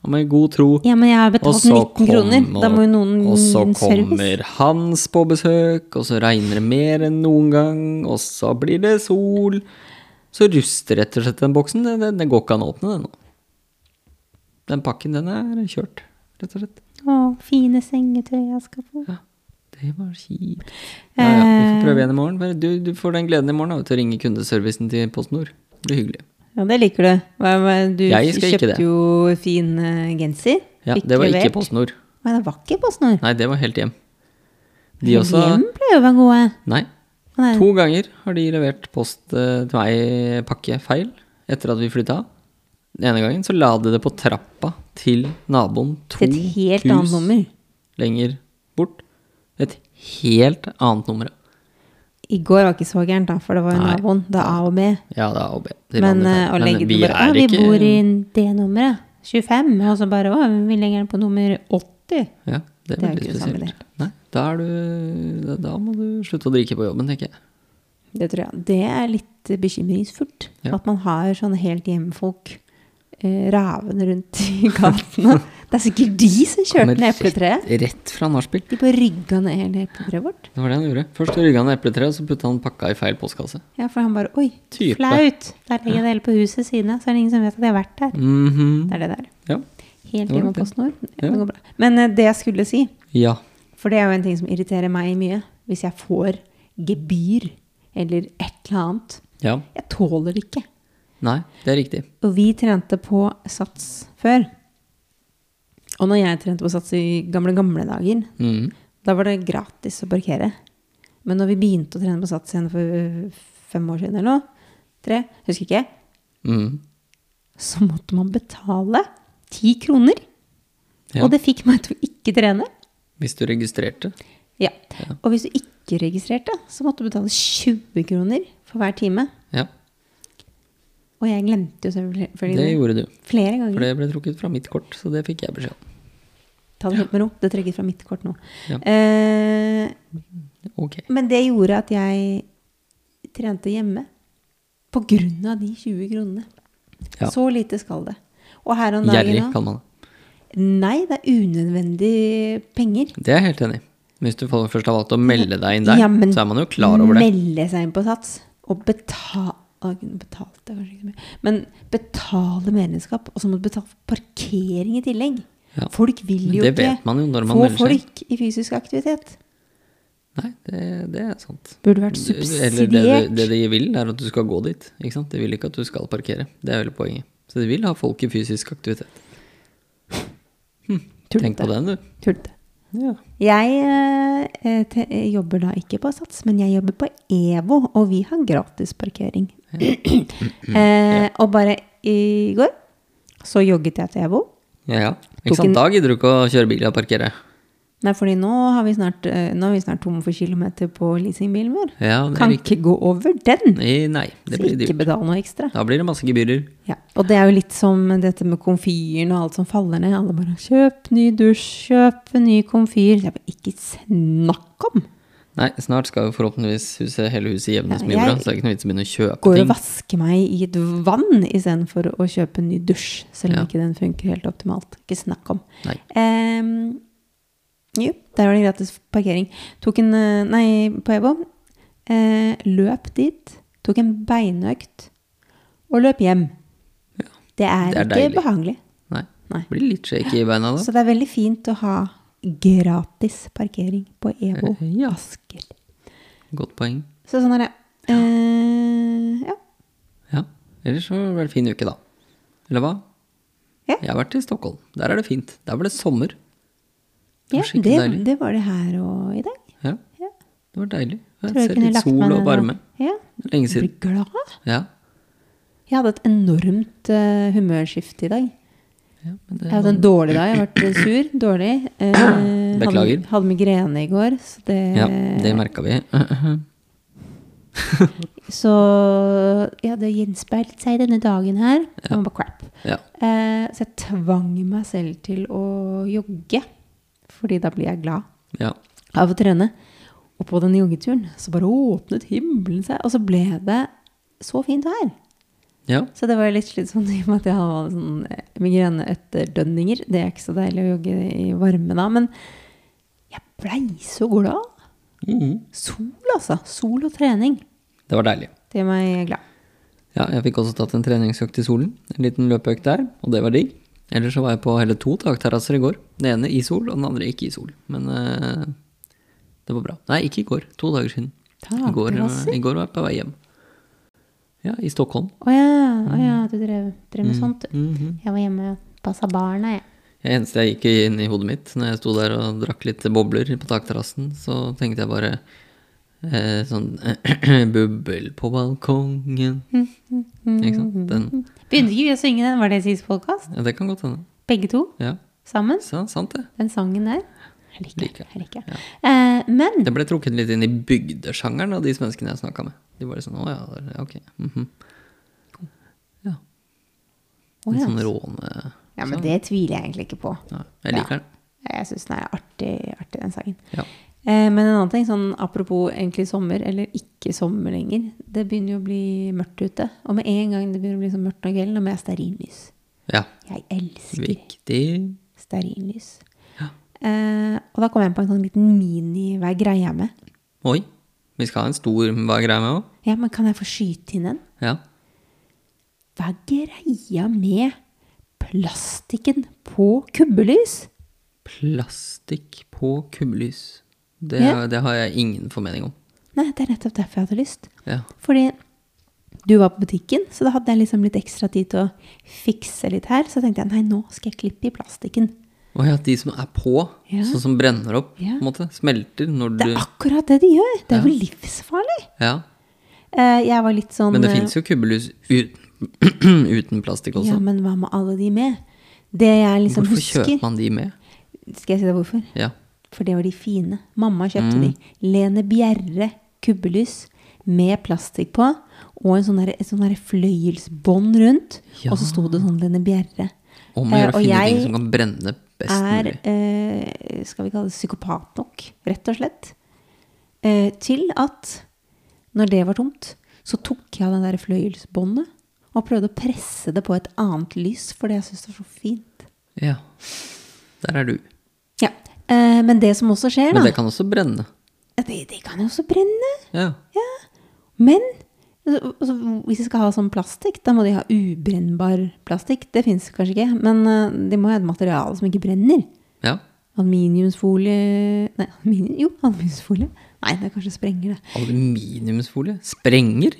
S2: Og med god tro.
S1: ja, men jeg har
S2: Og
S1: betalt
S2: så
S1: 19 kroner. Da må jo noen
S2: og så
S1: service.
S2: kommer Hans på besøk, og så regner det mer enn noen gang, og så blir det sol. Så ruster rett og slett den boksen. Det, det, det går ikke an å åpne den nå. Den pakken, den er kjørt, rett og slett.
S1: Å, fine sengetøy jeg skal få.
S2: Ja, det var kjipt. Ja, ja, vi får prøve igjen i morgen. Men Du, du får den gleden i morgen av å ringe kundeservicen til Post Nord. Det blir hyggelig.
S1: Ja, det liker du. Hva- hva- Du
S2: Jeg skal ikke
S1: kjøpte
S2: det.
S1: jo fin eh, genser.
S2: Ja,
S1: Fikk
S2: det var ikke
S1: levert.
S2: Post Nord.
S1: Nei, det var ikke PostNord.
S2: Nei, det var helt hjem. De også
S1: Hjem pleier å være gode.
S2: Nei.
S1: Nei.
S2: To ganger har de levert post eh, til meg pakke feil etter at vi flytta. Den ene gangen så la de det på trappa til naboen to
S1: Til et helt annet
S2: hus
S1: nummer.
S2: lenger bort. Et helt annet nummer.
S1: I går var ikke så gærent, da, for det var jo
S2: Nei.
S1: naboen. Det er A og B.
S2: Ja, det er AB. De la
S1: Men
S2: det
S1: eh,
S2: feil.
S1: å legge det
S2: vi
S1: bare «Å,
S2: er
S1: Vi
S2: ikke
S1: bor i det nummeret. 25. Og så bare Å, vi legger den på nummer 80.
S2: ja, det er
S1: Det er jo
S2: veldig
S1: ikke det samme i det hele
S2: spesielt. Nei, da, er du, da- da må du slutte å drikke på jobben, tenker jeg.
S1: Det tror jeg. Det er litt eh, bekymringsfullt.
S2: Ja.
S1: At man har sånne helt hjemmefolk eh, ravende rundt i *laughs* gatene. det er sikkert de som kjørte
S2: Kommer
S1: ned epletreet.
S2: Rett, rett fra nachspiel.
S1: De bare rygga ned hele epletreet vårt.
S2: Det var det han gjorde. Først rygga han epletreet, og så putta han pakka i feil postkasse.
S1: Ja, for han bare Oi,
S2: Type.
S1: flaut! Der ligger det hele på huset siden av, så er det ingen som vet at jeg har vært der.
S2: Mhm.
S1: Det er det der.
S2: Ja.
S1: Helt
S2: Det var
S1: hjemme
S2: fint.
S1: på PostNord.
S2: Ja.
S1: Det går bra. Men eh, det jeg skulle si,
S2: Ja.
S1: for det er jo en ting som irriterer meg mye, hvis jeg får gebyr eller et eller annet.
S2: Ja.
S1: Jeg tåler det ikke.
S2: Nei, det er riktig.
S1: Og vi trente på sats før. Og når jeg trente på sats i gamle, gamle dager,
S2: Mm.
S1: da var det gratis å parkere. Men når vi begynte å trene på sats igjen for øh, fem år siden eller noe, tre, husker ikke,
S2: Mm.
S1: så måtte man betale ti kroner.
S2: Ja.
S1: Og det fikk meg til å ikke trene.
S2: Hvis du registrerte.
S1: Ja. Og hvis du ikke registrerte, så måtte du betale 20 kroner for hver time.
S2: Ja,
S1: Og jeg glemte jo selvfølgelig
S2: det gjorde du.
S1: flere
S2: For
S1: ganger.
S2: det ble trukket fra mitt kort, så det fikk jeg beskjed om.
S1: Ta det helt med ro. Det trekkes fra mitt kort nå.
S2: Ja.
S1: Eh,
S2: Ok.
S1: Men det gjorde at jeg trente hjemme. På grunn av de 20 kronene.
S2: Ja.
S1: Så lite skal det. Og her om dagen
S2: Gjerrig,
S1: nå-
S2: kan man
S1: Nei, det er unødvendig penger.
S2: Det er jeg helt enig i. Hvis du først har valgt å melde deg inn der,
S1: Ja, men
S2: så er man jo klar over det.
S1: Melde seg inn på Sats og betale Betalte kanskje ikke så mye. Men betale medlemskap, og så må du betale for parkering i tillegg.
S2: Ja.
S1: Folk vil
S2: Men
S1: jo
S2: det
S1: ikke
S2: vet man jo når
S1: få
S2: man melder seg inn.
S1: folk i fysisk aktivitet.
S2: Nei, det, det er sant.
S1: Burde vært
S2: Du- Eller
S1: subsidiert.
S2: det, du- det de vil, er at du skal gå dit. Ikke sant? De vil ikke at du skal parkere. Det er vel poenget. Så de vil ha folk i fysisk aktivitet. Tenk på
S1: Tullete.
S2: den, du.
S1: Tullete.
S2: Ja.
S1: Jeg eh, te- eh, jobber da ikke på Sats, men jeg jobber på EVO, og vi har gratis parkering. *clears throat* eh, og bare i går så jogget jeg til E EVO.
S2: ja, ja.
S1: Tok
S2: Ikke sant?
S1: en-
S2: Da gidder du ikke å kjøre bil og parkere.
S1: Nei, fordi nå, har vi snart, eh, nå er vi snart tom for kilometer på leasingbilen vår.
S2: Ja, det er
S1: kan
S2: riktig.
S1: ikke gå over den,
S2: Nei, nei, det
S1: så
S2: blir
S1: ikke
S2: dyrt.
S1: betal noe ekstra.
S2: Da blir det masse gebyrer.
S1: Ja. Og det er jo litt som dette med komfyren og alt som faller ned. Alle bare 'kjøp ny dusj, kjøp en ny komfyr'. Det er bare ikke snakk om!
S2: Nei, snart skal jo forhåpentligvis huset, hele huset jevnes
S1: Ja,
S2: med jorda,
S1: jeg-
S2: så det er ikke noe vits i å begynne å kjøpe
S1: går og
S2: ting.
S1: vasker meg i et vann istedenfor å kjøpe en ny dusj, selv om
S2: Ja.
S1: ikke den funker helt optimalt. Ikke snakk om.
S2: Nei.
S1: Ehm, jo, der var det gratis parkering. Tok en eh, Nei, på EVO. Eh, løp dit, tok en beinøkt og løp hjem.
S2: Ja.
S1: Det er,
S2: Det er
S1: ikke
S2: deilig.
S1: behagelig.
S2: Nei.
S1: Nei.
S2: Blir litt shaky i beina da.
S1: Så det er veldig fint å ha gratis parkering på EVO
S2: Eh, ja.
S1: Asker.
S2: Godt poeng.
S1: Så sånn er det. Eh, ja.
S2: Ja. Ellers så var det en fin uke, da. Eller hva?
S1: Ja.
S2: Jeg har vært i Stockholm. Der er det fint. Der var det sommer. Det
S1: Ja,
S2: var skikkelig
S1: det,
S2: deilig.
S1: det var det her og i dag.
S2: Ja,
S1: Ja.
S2: det var deilig. Jeg
S1: Tror jeg
S2: ser
S1: kunne
S2: litt
S1: lagt
S2: sol
S1: meg
S2: og
S1: ned
S2: varme.
S1: nå. Ja.
S2: Lenge
S1: Jeg
S2: siden.
S1: blir glad.
S2: Ja.
S1: Jeg hadde et enormt eh, humørskifte i dag.
S2: ja men
S1: Jeg hadde
S2: det,
S1: en dårlig dag. Jeg ble sur, dårlig. Eh, hadde-
S2: Beklager.
S1: Hadde migrene i går, så det,
S2: ja, det merka vi. *laughs*
S1: Så ja, det gjenspeilet seg i denne dagen her. Det var bare crap.
S2: Ja.
S1: Eh, så jeg tvang meg selv til å jogge, fordi da blir jeg glad.
S2: ja.
S1: av å trene. Og på den joggeturen så bare åpnet himmelen seg, og så ble det så fint vær.
S2: Ja.
S1: Så det var jo litt slitsomt i og med at jeg har sånn eh, migreneøtterdønninger. Det er ikke så deilig å jogge i varme da, men jeg blei så glad.
S2: Mhm.
S1: Sol, altså. Sol og trening.
S2: Det var deilig.
S1: Det gjør meg glad.
S2: Ja, jeg fikk også tatt en treningsøkt i solen. En liten løpeøkt der, og det var digg. Ellers så var jeg på hele to takterrasser i går. Den ene i sol, og den andre ikke i sol. Men eh, det var bra. Nei, ikke i går. To dager siden.
S1: Ah,
S2: I går,
S1: Takterrasser?
S2: eh, I går var jeg på vei hjem. Ja, i Stockholm.
S1: Å ja, å ja,
S2: Mm.
S1: du drev, drev med sånt, du.
S2: Mhm.
S1: Jeg var hjemme og passa barna, jeg.
S2: Det eneste jeg gikk inn i hodet mitt når jeg sto der og drakk litt bobler på takterrassen, så tenkte jeg bare eh, sånn *clears throat* Bubbel på balkongen. Ikke sant? Den.
S1: Mm. Begynte ikke vi å synge den? Var det sist podkast?
S2: Ja, det kan godt hende.
S1: Begge to?
S2: Ja,
S1: Sammen?
S2: sa- sant det.
S1: Den sangen der. Jeg liker
S2: Liker.
S1: den. Jeg liker. den. Eh, men
S2: Det ble trukket litt inn i bygdesjangeren av de svenskene jeg snakka med. De var litt sånn Å ja, det- ja, ok. mhm." Ja.
S1: Å,
S2: En
S1: ja.
S2: sånn råne
S1: ja, men Det tviler jeg egentlig ikke på.
S2: Nei, Jeg liker den.
S1: Jeg syns den er artig, artig den sangen.
S2: Ja.
S1: Eh, men en annen ting, sånn apropos egentlig sommer, eller ikke sommer lenger Det begynner jo å bli mørkt ute. Og med en gang det begynner å bli så mørkt om kvelden, og med stearinlys.
S2: ja.
S1: Jeg elsker
S2: Viktig.
S1: stearinlys.
S2: Ja.
S1: Eh, og da kom jeg på en sånn liten mini Hva er greia med?
S2: Oi. Vi skal ha en stor Hva er greia med òg?
S1: Ja, men kan jeg få skyte inn en?
S2: Ja.
S1: Hva er greia med plastikken på kubbelys.
S2: Plastikk på kubbelys. Det,
S1: Ja.
S2: det har jeg ingen formening om.
S1: Nei, det er nettopp derfor jeg hadde lyst.
S2: Ja.
S1: Fordi du var på butikken, så da hadde jeg liksom litt ekstra tid til å fikse litt her. Så tenkte jeg nei, nå skal jeg klippe i plastikken.
S2: Og ja, de som er på,
S1: Ja.
S2: sånn som brenner opp,
S1: Ja.
S2: på en måte, smelter når du
S1: Det er akkurat det de gjør! Det er jo livsfarlig.
S2: ja.
S1: Eh, Jeg var litt sånn
S2: Men det
S1: eh,
S2: fins jo kubbelys uten, uten *clears throat* plastikk også.
S1: Ja, men hva med alle de med? Det jeg liksom
S2: Hvorfor
S1: husker
S2: kjøper man de med?
S1: Skal jeg si deg hvorfor?
S2: Ja.
S1: For det var de fine. Mamma kjøpte
S2: Mm.
S1: de. Lene Bjerre kubbelys med plastikk på, og en sånn der, et sånn der fløyelsbånd rundt.
S2: Ja.
S1: Og så sto det sånn Lene Bjerre.
S2: Om å
S1: Eh,
S2: gjøre å
S1: og
S2: finne
S1: jeg
S2: ting som kan brenne best
S1: er,
S2: mulig.
S1: eh, skal vi kalle det psykopat nok, rett og slett, eh, til at når det var tomt, så tok jeg den der fløyelsbåndet og prøvde å presse det på et annet lys, fordi jeg syntes det var så fint.
S2: Ja. Der er du.
S1: Ja, eh, Men det som også skjer,
S2: Men
S1: da
S2: det kan også brenne.
S1: at Det, det kan jo også brenne.
S2: Ja.
S1: Men altså, altså, hvis de skal ha sånn plastikk, da må de ha ubrennbar plastikk. Det fins kanskje ikke, men eh, de må ha et materiale som ikke brenner.
S2: ja.
S1: Aluminiumsfolie Nei, aluminium, jo, aluminiumsfolie. Nei, det kanskje sprenger det.
S2: Aluminiumsfolie? Sprenger?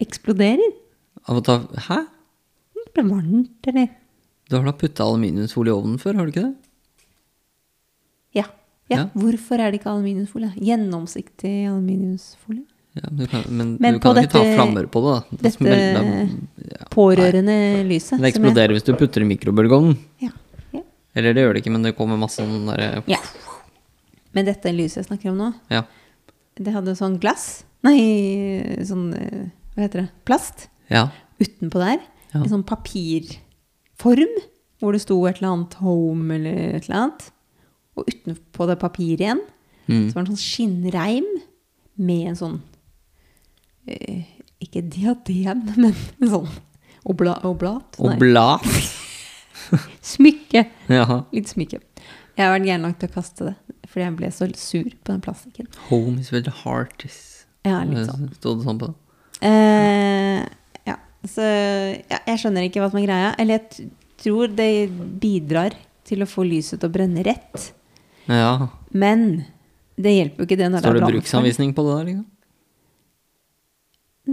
S1: Eksploderer.
S2: Av å ta Hæ?
S1: Det blir varmt, eller
S2: Du har da putta aluminiumsfolie i ovnen før, har du ikke det?
S1: ja. ja.
S2: Ja.
S1: Hvorfor er det ikke aluminiumsfolie? Gjennomsiktig aluminiumsfolie.
S2: Ja, men du kan, men
S1: Men
S2: du kan
S1: på
S2: jo ikke ta
S1: dette-
S2: flammer på det, da. Det
S1: Dette
S2: smelter-
S1: pårørende lyset.
S2: Det eksploderer hvis du putter det i mikrobølgeovnen.
S1: Ja. Ja.
S2: Eller det gjør det ikke, men det kommer masse sånn derre
S1: ja. Men dette lyset jeg snakker om nå,
S2: ja.
S1: det hadde sånn glass Nei, sånn eh, Hva heter det? Plast.
S2: ja.
S1: utenpå der.
S2: Ja.
S1: En sånn papirform hvor det sto et eller annet Home eller et eller annet. Og utenpå det papiret igjen
S2: Mm.
S1: så var det en sånn skinnreim med en sånn eh, Ikke diadem, *laughs* men en sånn obla, oblat.
S2: Og
S1: Nei,
S2: blad.
S1: smykke.
S2: Jaha.
S1: Litt smykke. Jeg har vært gæren nok til å kaste det, fordi jeg ble så sur på den plastikken.
S2: Home is where the heart is.
S1: Ja, litt sånn.
S2: Stod det sånn på det?
S1: Eh, ja, så ja, jeg skjønner ikke hva som er greia. Eller jeg t- tror det bidrar til å få lyset til å brenne rett.
S2: Ja.
S1: Men det hjelper jo ikke det når det
S2: Står det
S1: er brannfarlig.
S2: bruksanvisning på det der, liksom?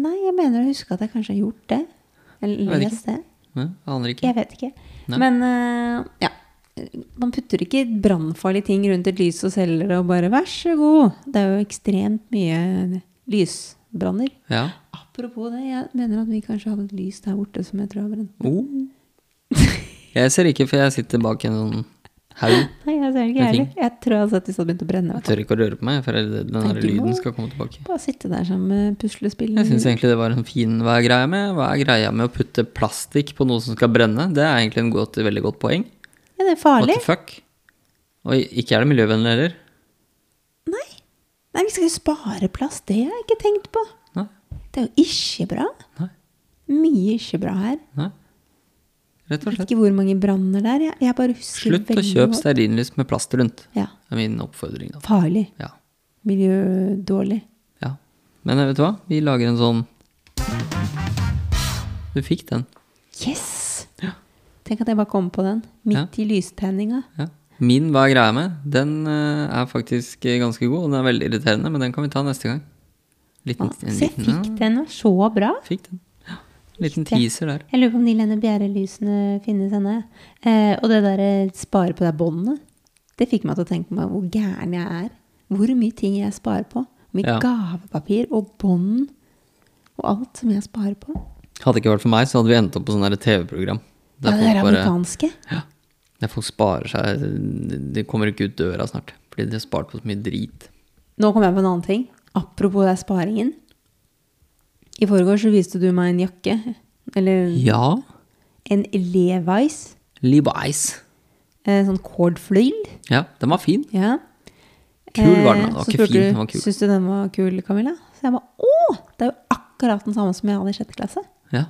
S1: Nei, jeg mener å huske at jeg kanskje har gjort det.
S2: Jeg
S1: Eller
S2: vet
S1: lest det.
S2: Ja, aner ikke.
S1: Jeg vet ikke.
S2: Nei.
S1: Men eh, ja. Man putter ikke brannfarlige ting rundt et lys og selger det og bare 'vær så god'. Det er jo ekstremt mye lysbranner.
S2: Ja.
S1: Apropos det, jeg mener at vi kanskje hadde et lys der borte som jeg tror har brent.
S2: Oh. Jeg ser ikke, for jeg sitter bak en sånn haug.
S1: Nei, jeg ser det ikke
S2: Med ting.
S1: heller. Jeg tror jeg hadde sett hvis det hadde begynt å brenne. i
S2: Jeg
S1: hvert fall.
S2: tør ikke å røre på meg, for jeg er redd den
S1: Nei,
S2: der
S1: du må-
S2: lyden skal komme tilbake.
S1: Bare sitte der som eh, puslespill.
S2: Jeg syns egentlig det var en fin Hva er greia med Hva er greia med å putte plastikk på noe som skal brenne? Det er egentlig en godt, veldig godt poeng.
S1: Ja, det er
S2: What
S1: farlig.
S2: the fuck? Og ikke er det miljøvennlig heller.
S1: Nei. Nei, vi skal jo spare plass. Det har jeg ikke tenkt på.
S2: Nei.
S1: Det er jo ikke bra.
S2: Nei.
S1: Mye ikke bra her.
S2: Nei. Rett og
S1: Jeg vet
S2: slett.
S1: ikke hvor mange branner der. Jeg, jeg bare husker
S2: Slutt å
S1: veldig
S2: kjøpe
S1: godt.
S2: stearinlys med plast rundt,
S1: Ja.
S2: er min oppfordring. Da.
S1: Farlig.
S2: Ja.
S1: Miljødårlig.
S2: ja. Men eh, vet du hva? Vi lager en sånn Du fikk den.
S1: Yes!
S2: Ja.
S1: Tenk at jeg bare kom på den. Midt i lystenninga.
S2: Ja. Min Hva er greia med? Den eh, er faktisk eh, ganske god, og den er veldig irriterende, men den kan vi ta neste gang. Liten,
S1: Å, Se, jeg fikk
S2: ja,
S1: den. var Så bra.
S2: fikk den. Ja. Liten
S1: Fikk det.
S2: teaser der.
S1: Jeg lurer på om de Lene Bjerre-lysene finnes ennå. jeg. Eh, og det derre spare på det båndet, det fikk meg til å tenke meg hvor gæren jeg er. Hvor mye ting jeg sparer på. Hvor mye
S2: Ja.
S1: gavepapir og bånd og alt som jeg sparer på.
S2: Hadde det ikke vært for meg, så hadde vi endt opp på sånn der TV-program.
S1: Ja,
S2: Der
S1: det der
S2: folk bare
S1: amerikanske.
S2: ja, Der folk sparer seg De kommer ikke ut døra snart, fordi de har spart på så mye drit.
S1: Nå kom jeg på en annen ting. Apropos det sparingen. I forgårs så viste du meg en jakke. Eller
S2: Ja.
S1: en Levi's.
S2: Levi's.
S1: Eh, sånn cordfløyel.
S2: Ja, den var fin.
S1: Ja.
S2: Kul var den, den var
S1: Eh, så
S2: ikke
S1: spurte
S2: fin,
S1: du,
S2: den var kul.
S1: Syns du den var kul, Camilla? Så jeg bare Å! Det er jo akkurat den samme som jeg hadde i sjette klasse.
S2: Ja.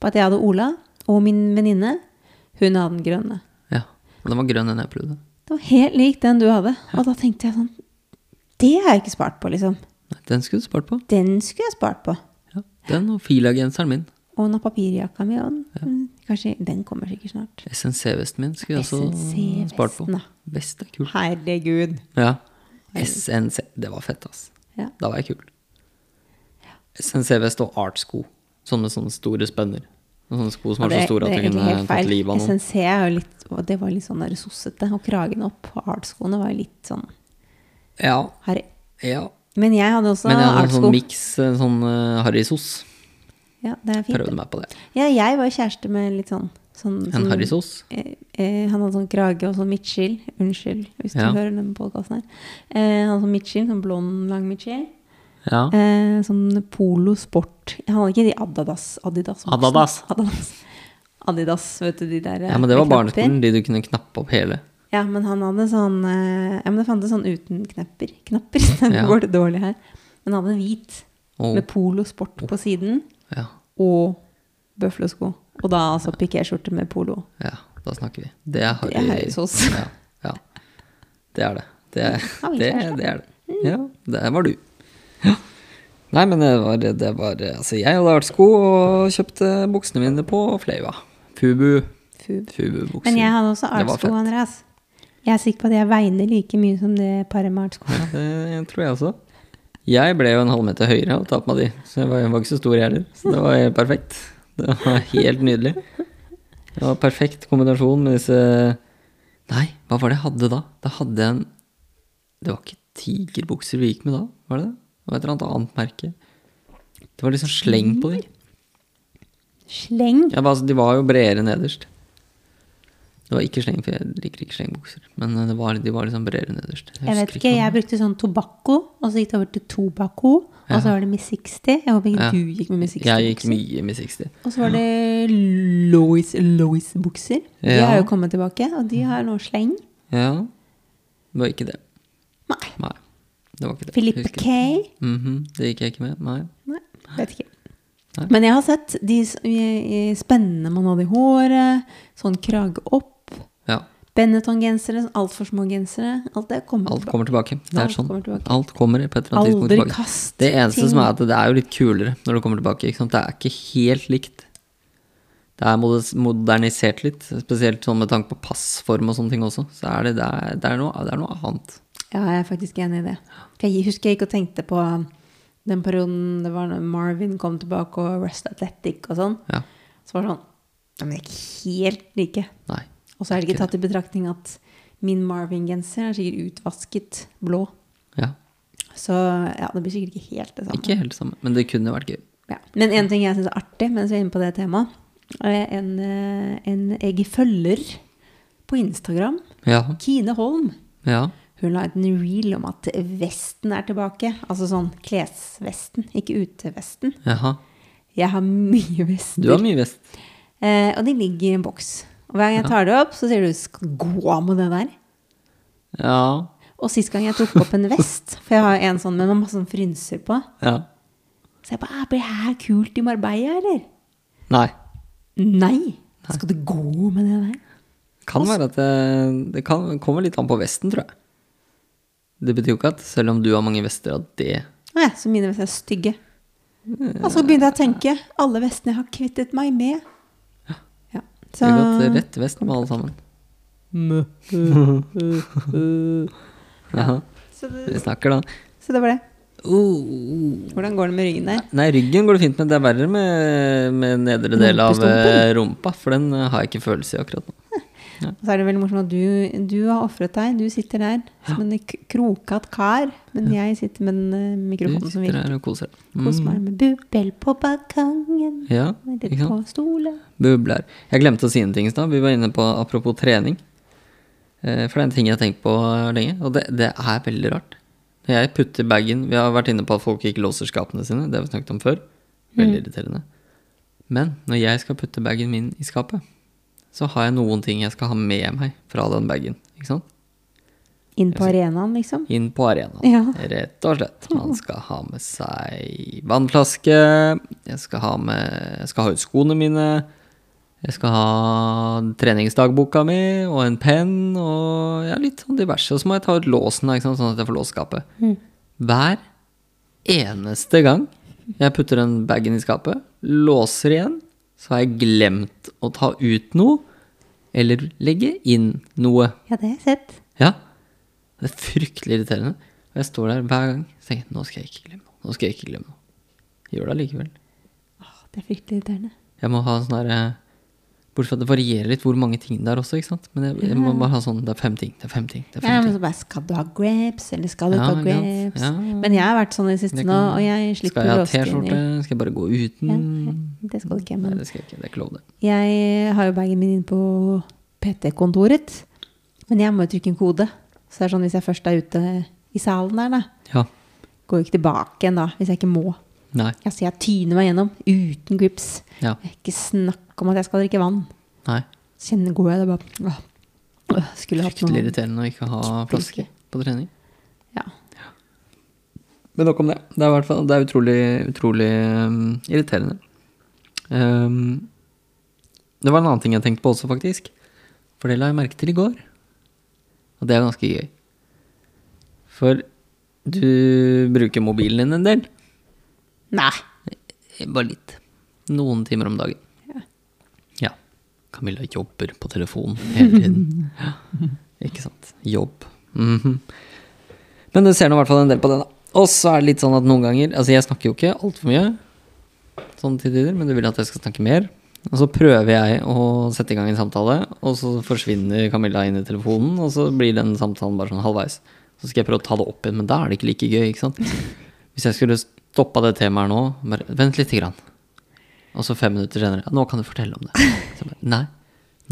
S1: Bare at jeg hadde Ola, og min venninne, hun hadde den grønne.
S2: ja. Og den var grønn, den jeg prøvde.
S1: Det var helt lik den du hadde. Og da tenkte jeg sånn Det har jeg ikke spart på, liksom.
S2: Nei, den skulle du spart på.
S1: Den skulle jeg spart på.
S2: Ja. Den og filagenseren min.
S1: Og hun har papirjakka mi. Og den, kanskje, den kommer sikkert snart.
S2: SNC-vesten min skulle jeg også
S1: SNC-vesten,
S2: spart på.
S1: da.
S2: Vest er kult.
S1: Herregud.
S2: Ja. SNC. Det var fett, ass.
S1: Ja.
S2: Da var jeg kul. SNC-vest og artsko. Sånne sånne store spenner. Sånne sko som
S1: Og
S2: var så store
S1: det
S2: at
S1: er
S2: du
S1: egentlig
S2: kunne
S1: helt
S2: tatt
S1: feil.
S2: livet av noen.
S1: SNC er jo litt, og det var litt sånn der sossete, og kragen opp. Og artskoene var litt sånn
S2: Ja,
S1: harry.
S2: ja.
S1: Men jeg hadde også
S2: Men jeg hadde en
S1: artsko.
S2: sånn miks, eh, sånn uh, harrysos.
S1: Ja, det er fint.
S2: Prøvde meg på det.
S1: Ja, jeg var jo kjæreste med litt sånn, sånn
S2: En
S1: sånn-
S2: harrysos.
S1: Eh, eh, han hadde sånn krage og sånn midtskill. Unnskyld hvis du
S2: Ja.
S1: hører denne podkasten her. Eh, han hadde sånn midtskill, sånn blond, lang midtskill.
S2: Ja.
S1: Eh, sånn polo sport. Han hadde ikke de Adidas. Adidas. voksne.
S2: Adidas.
S1: Adidas. Adidas, vet du, de der eh,
S2: ja, men det var
S1: med knapper.
S2: barneskolen, de du kunne knappe opp hele.
S1: Ja, men han hadde sånn eh, Ja, men det fantes sånn uten knapper. Knapper, *laughs* så
S2: Ja. Oh.
S1: nå går det dårlig her. Men han hadde en hvit
S2: Og,
S1: med polo sport på siden
S2: ja,
S1: og bøflesko. Og da altså pikéskjorte med polo.
S2: ja, da snakker vi. Det er
S1: Det er
S2: harry.
S1: høysos.
S2: Ja, ja. Det er det. Det,
S1: *laughs* Ja, vi
S2: det,
S1: kjæreste.
S2: det er det.
S1: Mm.
S2: Ja, der var du. Ja. Nei, men det var, det var Altså, jeg hadde vært sko og kjøpte buksene mine på Fløya. Fubu.
S1: Fub.
S2: Fubu-bukser.
S1: Men jeg hadde også
S2: Det var
S1: artsko,
S2: fett.
S1: Andreas. Jeg er sikker på at jeg veiner like mye som det paret med artsko.
S2: Ja, det tror jeg også. Jeg ble jo en halvmeter høyere og ta på meg de, så jeg var, jeg var ikke så stor jeg heller. Så det var helt perfekt. Det var helt nydelig. Det var perfekt kombinasjon med disse Nei, hva var det jeg hadde da? Da hadde jeg en Det var ikke tigerbukser vi gikk med da, var det det? Det var et eller annet annet merke. Det var liksom sleng på de.
S1: Sleng.
S2: Ja, men altså, de var jo bredere nederst. Det var ikke sleng, for jeg liker ikke slengbukser. Men eh, det var, de var liksom bredere nederst.
S1: Jeg vet
S2: husker
S1: ikke,
S2: hva-
S1: jeg brukte sånn tobakko, og så gikk det over til tobakko, og så var det Miss 60. Jeg håper ikke
S2: Ja.
S1: du gikk med Miss 60.
S2: Jeg gikk
S1: bukser.
S2: mye med 60.
S1: Og så var det Lois Lois-bukser. De
S2: Ja.
S1: har jo kommet tilbake, og de har nå sleng.
S2: Ja. Det var ikke det.
S1: Nei.
S2: Nei. Det var ikke det.
S1: Philippe
S2: Husker
S1: K.
S2: jeg. Mhm, Det gikk jeg ikke med. Nei.
S1: Nei, vet ikke.
S2: Nei.
S1: Men jeg har sett de s- i- i spennene man hadde i håret, sånn krage opp,
S2: Ja.
S1: Benetton-gensere, sånn altfor små gensere. Alt det kommer
S2: Alt
S1: tilbake.
S2: kommer tilbake. Det er
S1: Alt
S2: sånn.
S1: kommer tilbake.
S2: Alt kommer på et eller annet tidspunkt
S1: Aldri
S2: tilbake.
S1: kast
S2: Det eneste
S1: ting.
S2: som er at det er jo litt kulere når det kommer tilbake. Ikke sant? Det er ikke helt likt. Det er moder- modernisert litt, spesielt sånn med tanke på passform og sånne ting også. Så er det, det, er, det, er, noe, det er noe annet.
S1: Ja, jeg er faktisk enig i det. For jeg husker jeg gikk og tenkte på um, den perioden det var når Marvin kom tilbake og Rest Athletic og sånn.
S2: Ja.
S1: Så var det sånn Ja, men det er ikke helt like.
S2: Nei.
S1: Og så er det
S2: Ikke
S1: ikke tatt i betraktning at min Marvin-genser er sikkert utvasket blå.
S2: Ja.
S1: Så ja, det blir sikkert ikke helt det samme.
S2: Ikke helt samme, men det kunne vært gøy.
S1: Ja. Men en ting jeg syns er artig, mens vi er inne på det temaet, er en, eh, en jeg følger på Instagram,
S2: Ja.
S1: Kine Holm.
S2: Ja.
S1: Hun la ut en reel om at vesten er tilbake. Altså sånn klesvesten, ikke utevesten.
S2: Jaha.
S1: Jeg har mye vester.
S2: Du har mye vest.
S1: Eh, og de ligger i en boks. Og hver gang jeg tar det opp, så sier du skal gå av med det der.
S2: Ja.
S1: Og sist gang jeg tok opp en vest, for jeg har en sånn med masse sånn frynser på,
S2: Ja.
S1: så jeg bare «Ah, Blir det her kult i Marbella, eller?
S2: Nei.
S1: Nei! Skal du gå med det der?
S2: Kan være at det, det kan, kommer litt an på vesten, tror jeg. Det betyr jo ikke at selv om du har mange vester, at det
S1: Å ja, så mine vester er stygge. Og så begynte jeg å tenke alle vestene jeg har kvittet meg med. Ja.
S2: Vi har gått rett vest med alle
S1: *laughs*
S2: sammen. Jaha,
S1: Så det,
S2: vi snakker da.
S1: så det var det.
S2: Uh,
S1: Hvordan går det med ryggen der?
S2: nei, ryggen går det fint med. Det er verre med, med nedre del av eh, rumpa, for den eh, har jeg ikke følelse i akkurat nå.
S1: Og så er det veldig morsomt at du, du har ofret deg. Du sitter der som en k- krokat kar. Men jeg sitter med den eh,
S2: Du
S1: mikrofonen som
S2: sitter
S1: virker.
S2: her og koser deg.
S1: Kos meg med bubbel på balkongen.
S2: Ja,
S1: Eller
S2: ikke sant?
S1: på stolen.
S2: Bubler. Jeg glemte å si en ting i stad. Vi var inne på apropos trening. Eh, For det er en ting jeg har tenkt på eh, lenge, og det, det er veldig rart. Når jeg putter bagen Vi har vært inne på at folk ikke låser skapene sine. Det har vi snakket om før. Veldig irriterende. Men når jeg skal putte bagen min i skapet, så har jeg noen ting jeg skal ha med meg fra den bagen. Ikke sant?
S1: Inn på arenaen, liksom.
S2: Inn på arenaen,
S1: Ja.
S2: rett og slett. Man skal ha med seg vannflaske, jeg skal ha, med, jeg skal ha ut skoene mine, jeg skal ha treningsdagboka mi og en penn og ja, litt sånn diverse. Og så må jeg ta ut låsen, da, ikke sant? sånn at jeg får låst skapet.
S1: Mm.
S2: Hver eneste gang jeg putter den bagen i skapet, låser igjen, så har jeg glemt å ta ut noe, eller legge inn noe.
S1: Ja, det har jeg sett.
S2: Ja. Det er fryktelig irriterende. Og jeg står der hver gang og tenker jeg, nå skal jeg ikke glemme noe. Nå skal jeg ikke glemme noe. Gjør det allikevel.
S1: Åh, det er fryktelig irriterende.
S2: Jeg må ha en sånn derre Bortsett fra at det varierer litt hvor mange ting det er også, ikke sant. Men jeg, jeg må bare ha sånn det er fem ting, det er fem ting, det er fem
S1: Ja, men
S2: ting.
S1: så bare, skal du ha grapes, eller skal du ikke
S2: Ja,
S1: ha
S2: ikke sant?
S1: grapes?
S2: Ja.
S1: Men jeg har vært sånn i det siste
S2: Det
S1: nå,
S2: kan-
S1: og jeg slipper
S2: Skal jeg ha
S1: låsken i-
S2: T-skjorte? Skal jeg bare gå uten?
S1: Ja, det skal du ikke,
S2: Nei,
S1: men
S2: det skal jeg ikke. Det er ikke lov, det.
S1: jeg har jo bagen min inne på PT-kontoret, men jeg må jo trykke en kode. Så det er sånn hvis jeg først er ute i salen der, da,
S2: Ja.
S1: går jo ikke tilbake igjen da, hvis jeg ikke må.
S2: Nei.
S1: Altså, jeg tyner meg gjennom uten grips.
S2: Ja.
S1: Jeg har ikke snakk om at jeg skal drikke vann.
S2: Nei.
S1: Så kjenner går jeg det bare, åh, åh, skulle hatt
S2: Fryktelig
S1: noe.
S2: irriterende å ikke ha flaske på trening.
S1: Ja,
S2: Men nok om det. Det er, i hvert fall, det er utrolig, utrolig um, irriterende. Um, det var en annen ting jeg tenkte på også, faktisk. For det la jeg merke til i går. Og det er ganske gøy. For du bruker mobilen din en del.
S1: nei.
S2: Bare litt. Noen timer om dagen.
S1: Ja.
S2: Ja. Camilla jobber på telefon hele tiden. ja. Ikke sant. Jobb. Mhm. Men du ser nå i hvert fall en del på det, da. Og så er det litt sånn at noen ganger Altså, jeg snakker jo ikke altfor mye sånn til tider, men du vil at jeg skal snakke mer. Og så prøver jeg å sette i gang en samtale, og så forsvinner Camilla inn i telefonen, og så blir den samtalen bare sånn halvveis. Så skal jeg prøve å ta det opp igjen, men da er det ikke like gøy, ikke sant. Hvis jeg skulle stoppa det temaet nå, bare vent lite grann. Og så fem minutter senere ja, 'Nå kan du fortelle om det'. Så jeg bare, Nei,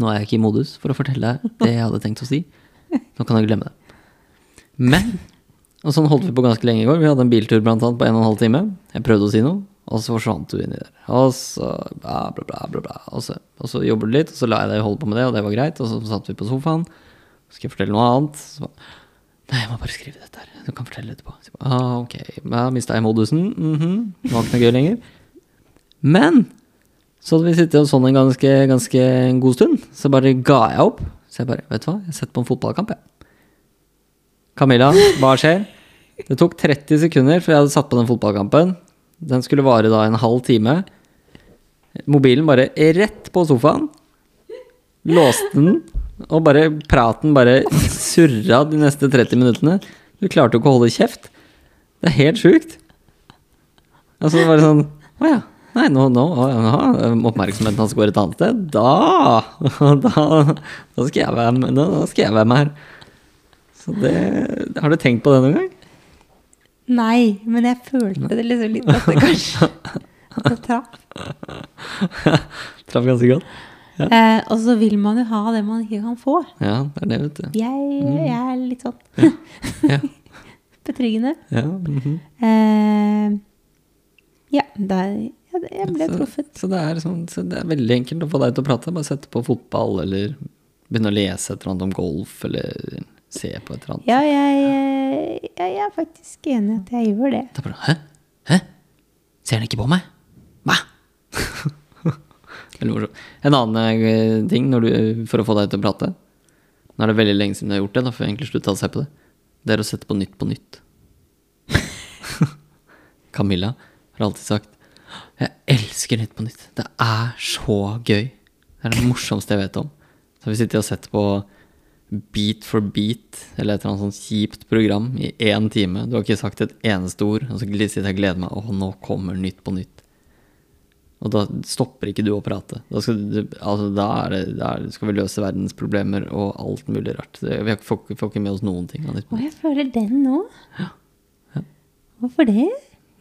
S2: nå er jeg ikke i modus for å fortelle deg det jeg hadde tenkt å si. Nå kan du glemme det. Men Og sånn holdt vi på ganske lenge i går. Vi hadde en biltur blant annet på en og en halv time. Jeg prøvde å si noe, og så forsvant du inni der. Og så bla, bla, bla, bla, bla. Og så, og så jobber du litt, og så la jeg deg holde på med det, og det var greit. Og så satt vi på sofaen. Så skal jeg fortelle noe annet. Så bare, Nei, jeg må bare skrive dette her. Du kan fortelle etterpå. Så jeg bare, ah, ok, jeg mista jeg modusen. mhm. Det var ikke noe gøy lenger. Men så hadde vi sittet og sånn en ganske, ganske en god stund, så bare ga jeg opp. Så jeg bare, vet du hva, jeg setter på en fotballkamp, jeg. Camilla, hva skjer? Det tok 30 sekunder før jeg hadde satt på den fotballkampen. Den skulle vare da en halv time. Mobilen bare rett på sofaen. Låste den, og bare praten bare surra de neste 30 minuttene. Du klarte jo ikke å holde kjeft. Det er helt sjukt. Altså, det var sånn Å ja. Nei, nå, nå å, ja, nå, Oppmerksomheten hans går et annet sted. Da, *laughs* da, da, skal jeg være med, da, da skal jeg være med her. Så det Har du tenkt på det noen gang?
S1: *laughs* Nei, men jeg følte det liksom litt at det kanskje
S2: *laughs*
S1: at det traff.
S2: Traff ganske godt.
S1: Eh, og så vil man jo ha det man ikke kan få.
S2: Ja, det er det, vet
S1: *laughs*
S2: du.
S1: Jeg, jeg er litt sånn
S2: Mm. Ja.
S1: *laughs* betryggende.
S2: ja mhm.
S1: Eh, ja, der, ja, det- jeg ble
S2: så,
S1: truffet.
S2: Så det, er sånn, så det er veldig enkelt å få deg til å prate. Bare sette på fotball, eller begynne å lese et eller annet om golf, eller se på et eller annet.
S1: Ja, jeg, eh, jeg, jeg er faktisk enig i at jeg gjør det.
S2: Da bare Hæ? Hæ? Ser han ikke på meg? Hva? *laughs* veldig morsomt. En annen eh, ting når du, for å få deg til å prate Nå er det veldig lenge siden du har gjort det, da får jeg egentlig slutte å se på det. Det er å sette på nytt på nytt. Camilla har alltid sagt Jeg elsker Nytt på nytt. Det er så gøy. Det er det morsomste jeg vet om. Så har vi sittet og sett på Beat for beat, eller et eller annet sånt kjipt program, i én time. Du har ikke sagt et eneste ord, og så sitter jeg og gleder meg. Åh, nå kommer Nytt på nytt. Og da stopper ikke du å prate. Da skal, du, altså, da er det, da er, skal vi løse verdens problemer og alt mulig rart. Det, vi har- får, ikke- får ikke med oss noen ting. av Nytt *laughs* på
S1: Og
S2: Nytt.
S1: jeg føler den nå. Hvorfor det?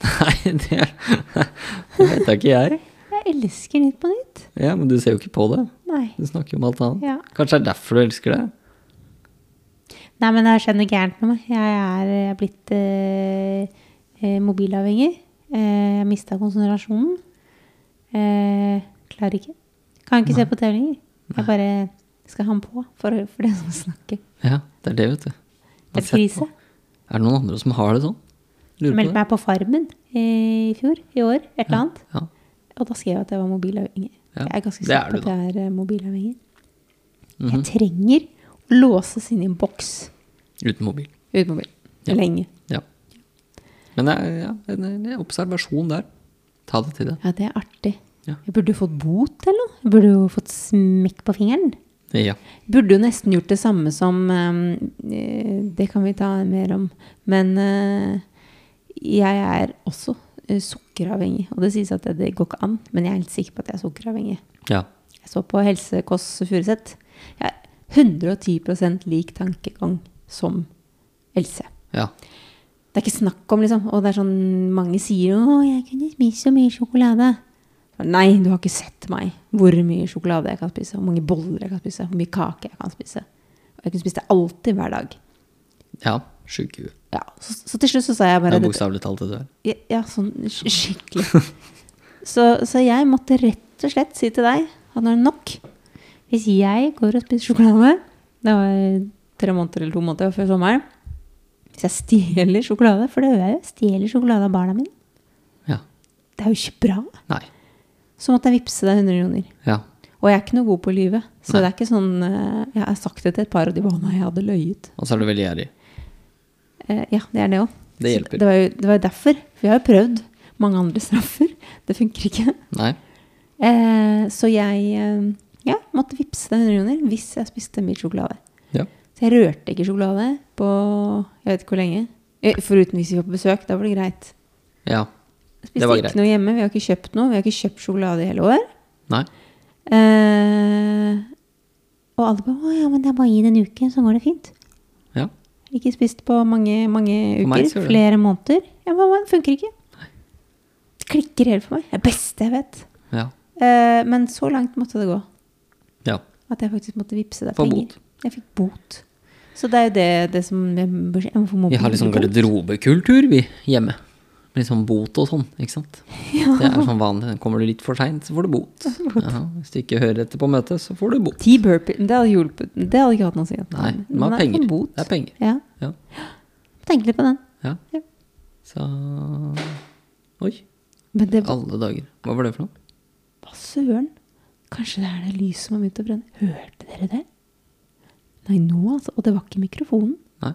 S2: Nei, det, det vet jeg ikke jeg.
S1: Jeg elsker Nytt på nytt.
S2: Ja, Men du ser jo ikke på det.
S1: Nei.
S2: Du snakker jo om alt annet.
S1: Ja.
S2: Kanskje det er derfor du elsker det?
S1: Nei, men det har skjedd noe gærent med meg. Jeg er, jeg er blitt eh, eh, mobilavhengig. Eh, jeg mista konsentrasjonen. Eh, klarer ikke. Kan ikke se på TV lenger. Jeg bare skal ha den på for, for det som snakker.
S2: Ja, det er det, vet du.
S1: Det er krise.
S2: Er det noen andre som har det sånn? Lurer
S1: Jeg
S2: på det.
S1: meldte meg på Farmen i fjor, i år, et eller annet.
S2: Ja.
S1: Og da skrev jeg at jeg var mobilavhengig.
S2: Ja,
S1: Jeg er ganske
S2: det er
S1: sikker på at
S2: du
S1: jeg er eh, mobilavhengig.
S2: Mhm.
S1: Jeg trenger å låses inn i en boks
S2: Uten mobil.
S1: uten mobil.
S2: Ja.
S1: Lenge.
S2: Ja. Men det er ja, en, en observasjon der. Ta det til deg.
S1: Ja, det er artig.
S2: Ja.
S1: Jeg burde jo fått bot eller noe. Jeg burde jo fått smekk på fingeren.
S2: Ja.
S1: Burde jo nesten gjort det samme som eh, Det kan vi ta mer om. Men eh, jeg er også eh, sukkeravhengig. Og det sies at det, det går ikke an, men jeg er helt sikker på at jeg er sukkeravhengig.
S2: ja.
S1: Jeg så på Helse Kåss Furuseth. Jeg er 110 lik tankegang som Else.
S2: Ja.
S1: Det er ikke snakk om, liksom. Og det er sånn mange sier 'Å, jeg kunne spist så mye sjokolade'. Nei, du har ikke sett meg. Hvor mye sjokolade jeg kan spise, hvor mange boller jeg kan spise, hvor mye kake jeg kan spise. Og jeg kunne spist det alltid, hver dag.
S2: ja. Sjuk hue.
S1: Ja, så, så til slutt så sa jeg
S2: Det
S1: bare
S2: er
S1: dette-
S2: bokstavelig talt det du er.
S1: Ja, ja, sånn sk- skikkelig. Så, så jeg måtte rett og slett si til deg at nå er det nok. Hvis jeg går og spiser sjokolade Det var tre måneder eller to måneder før sommeren. Hvis jeg stjeler sjokolade, for det gjør jeg jo, jeg stjeler sjokolade av barna mine.
S2: Ja.
S1: Det er jo ikke bra.
S2: Nei.
S1: Så måtte jeg vippse deg 100 kroner.
S2: Ja.
S1: Og jeg er ikke noe god på å lyve. Så
S2: Nei.
S1: det er ikke sånn eh, Jeg har sagt det til et par, og de bare 'Å nei, jeg hadde løyet'.
S2: Og så er du veldig gjerrig.
S1: Eh, ja, det er det òg.
S2: Det hjelper.
S1: Det var jo det var jo derfor. For jeg har jo prøvd mange andre straffer. *laughs* Det funker ikke.
S2: Nei.
S1: Eh, så jeg eh, ja, måtte vippse deg 100 kroner hvis jeg spiste mye sjokolade.
S2: Ja.
S1: Så jeg rørte ikke sjokolade på jeg vet ikke hvor lenge. Eh, Foruten hvis vi var på besøk. Da var det greit.
S2: Ja.
S1: Jeg
S2: Det
S1: spiste
S2: var
S1: ikke
S2: greit.
S1: noe hjemme. Vi har ikke kjøpt noe. Vi har ikke kjøpt sjokolade i hele år.
S2: Nei.
S1: Eh, og alle bare 'Å ja, men det er bare å gi det en uke, så går det fint'.
S2: Ja.
S1: Ikke spist på mange, mange
S2: For meg
S1: uker.
S2: skal det.
S1: Flere måneder. Ja, men det funker ikke. Det klikker helt for meg. Det er det beste jeg vet.
S2: Ja.
S1: Eh, men så langt måtte det gå.
S2: Ja.
S1: At jeg faktisk måtte vippse deg
S2: Få
S1: penger.
S2: bot.
S1: Jeg fikk bot. Så det er jo det, det som jeg bør si. Jeg må få mobil-
S2: Vi har liksom
S1: bot.
S2: garderobekultur, vi, hjemme. Med litt sånn bot og sånn, ikke sant.
S1: Ja.
S2: Det er sånn vanlig. Kommer du litt for seint, så får du bot. Ja, hvis du ikke hører etter på møtet, så får du bot.
S1: Ti burpees. Det hadde hjulpet. Det hadde ikke hatt noe å si.
S2: Nei, du må ha
S1: det er
S2: penger.
S1: en Bot.
S2: Det er penger.
S1: Ja.
S2: Ja.
S1: Tenk litt på den.
S2: ja.
S1: Ja.
S2: Så Oi.
S1: Men det
S2: Alle dager. Hva var det for noe?
S1: Hva søren? Kanskje det er det lyset som har begynt å brenne. Hørte dere det? Nei, nå altså. Og det var ikke mikrofonen.
S2: Nei.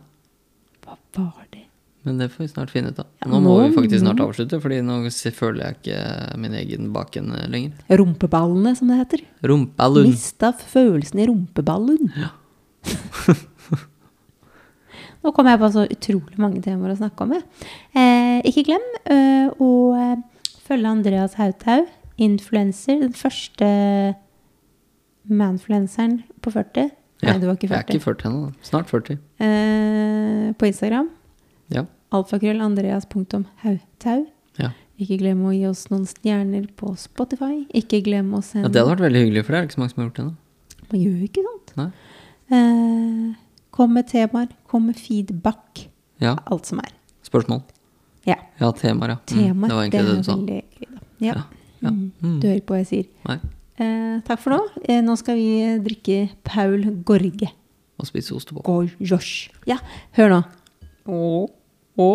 S1: Hva var det?
S2: Men det får vi snart finne ut av.
S1: Ja,
S2: Nå må
S1: nå-
S2: vi faktisk snart
S1: nå-
S2: avslutte, fordi nå se- føler jeg ikke min egen bakende lenger.
S1: Rumpeballene, som det heter.
S2: Rumpalund.
S1: Mista følelsen i rumpeballen.
S2: Ja.
S1: *laughs* Nå kom jeg på så utrolig mange temaer å snakke om. jeg. Eh, ikke glem eh, å eh, følge Andreas Hauthaug, influenser. Den første manfluenseren på 40. Nei,
S2: Ja,
S1: du var ikke
S2: Jeg er
S1: 40.
S2: ikke 40 ennå. da. Snart 40.
S1: Eh, på Instagram.
S2: Ja.
S1: Alfakrøll Andreas.hauthaug.
S2: ja.
S1: Ikke glem å gi oss noen stjerner på Spotify. Ikke glem å
S2: Ja,
S1: sende
S2: det hadde vært veldig hyggelig, for det er det ikke så mange som har gjort det ennå.
S1: Man gjør jo ikke sånt.
S2: Nei.
S1: Eh, kom med temaer. Kom med feedback.
S2: Ja.
S1: Alt som er.
S2: Spørsmål?
S1: Ja.
S2: Ja, temaer, ja. Mm,
S1: Temaer.
S2: det var egentlig det,
S1: er
S2: du sa.
S1: veldig gøy, da. Ja.
S2: Ja, ja.
S1: Mm.
S2: Mm.
S1: Du hører på hva jeg sier.
S2: Nei.
S1: Eh, takk for nå. Eh, nå skal vi eh, drikke Paul Gorge.
S2: Å spise ostepop.
S1: Gorgers. Ja, hør nå. Å, å.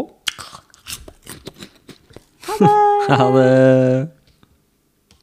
S1: Ha det!
S2: Ha det!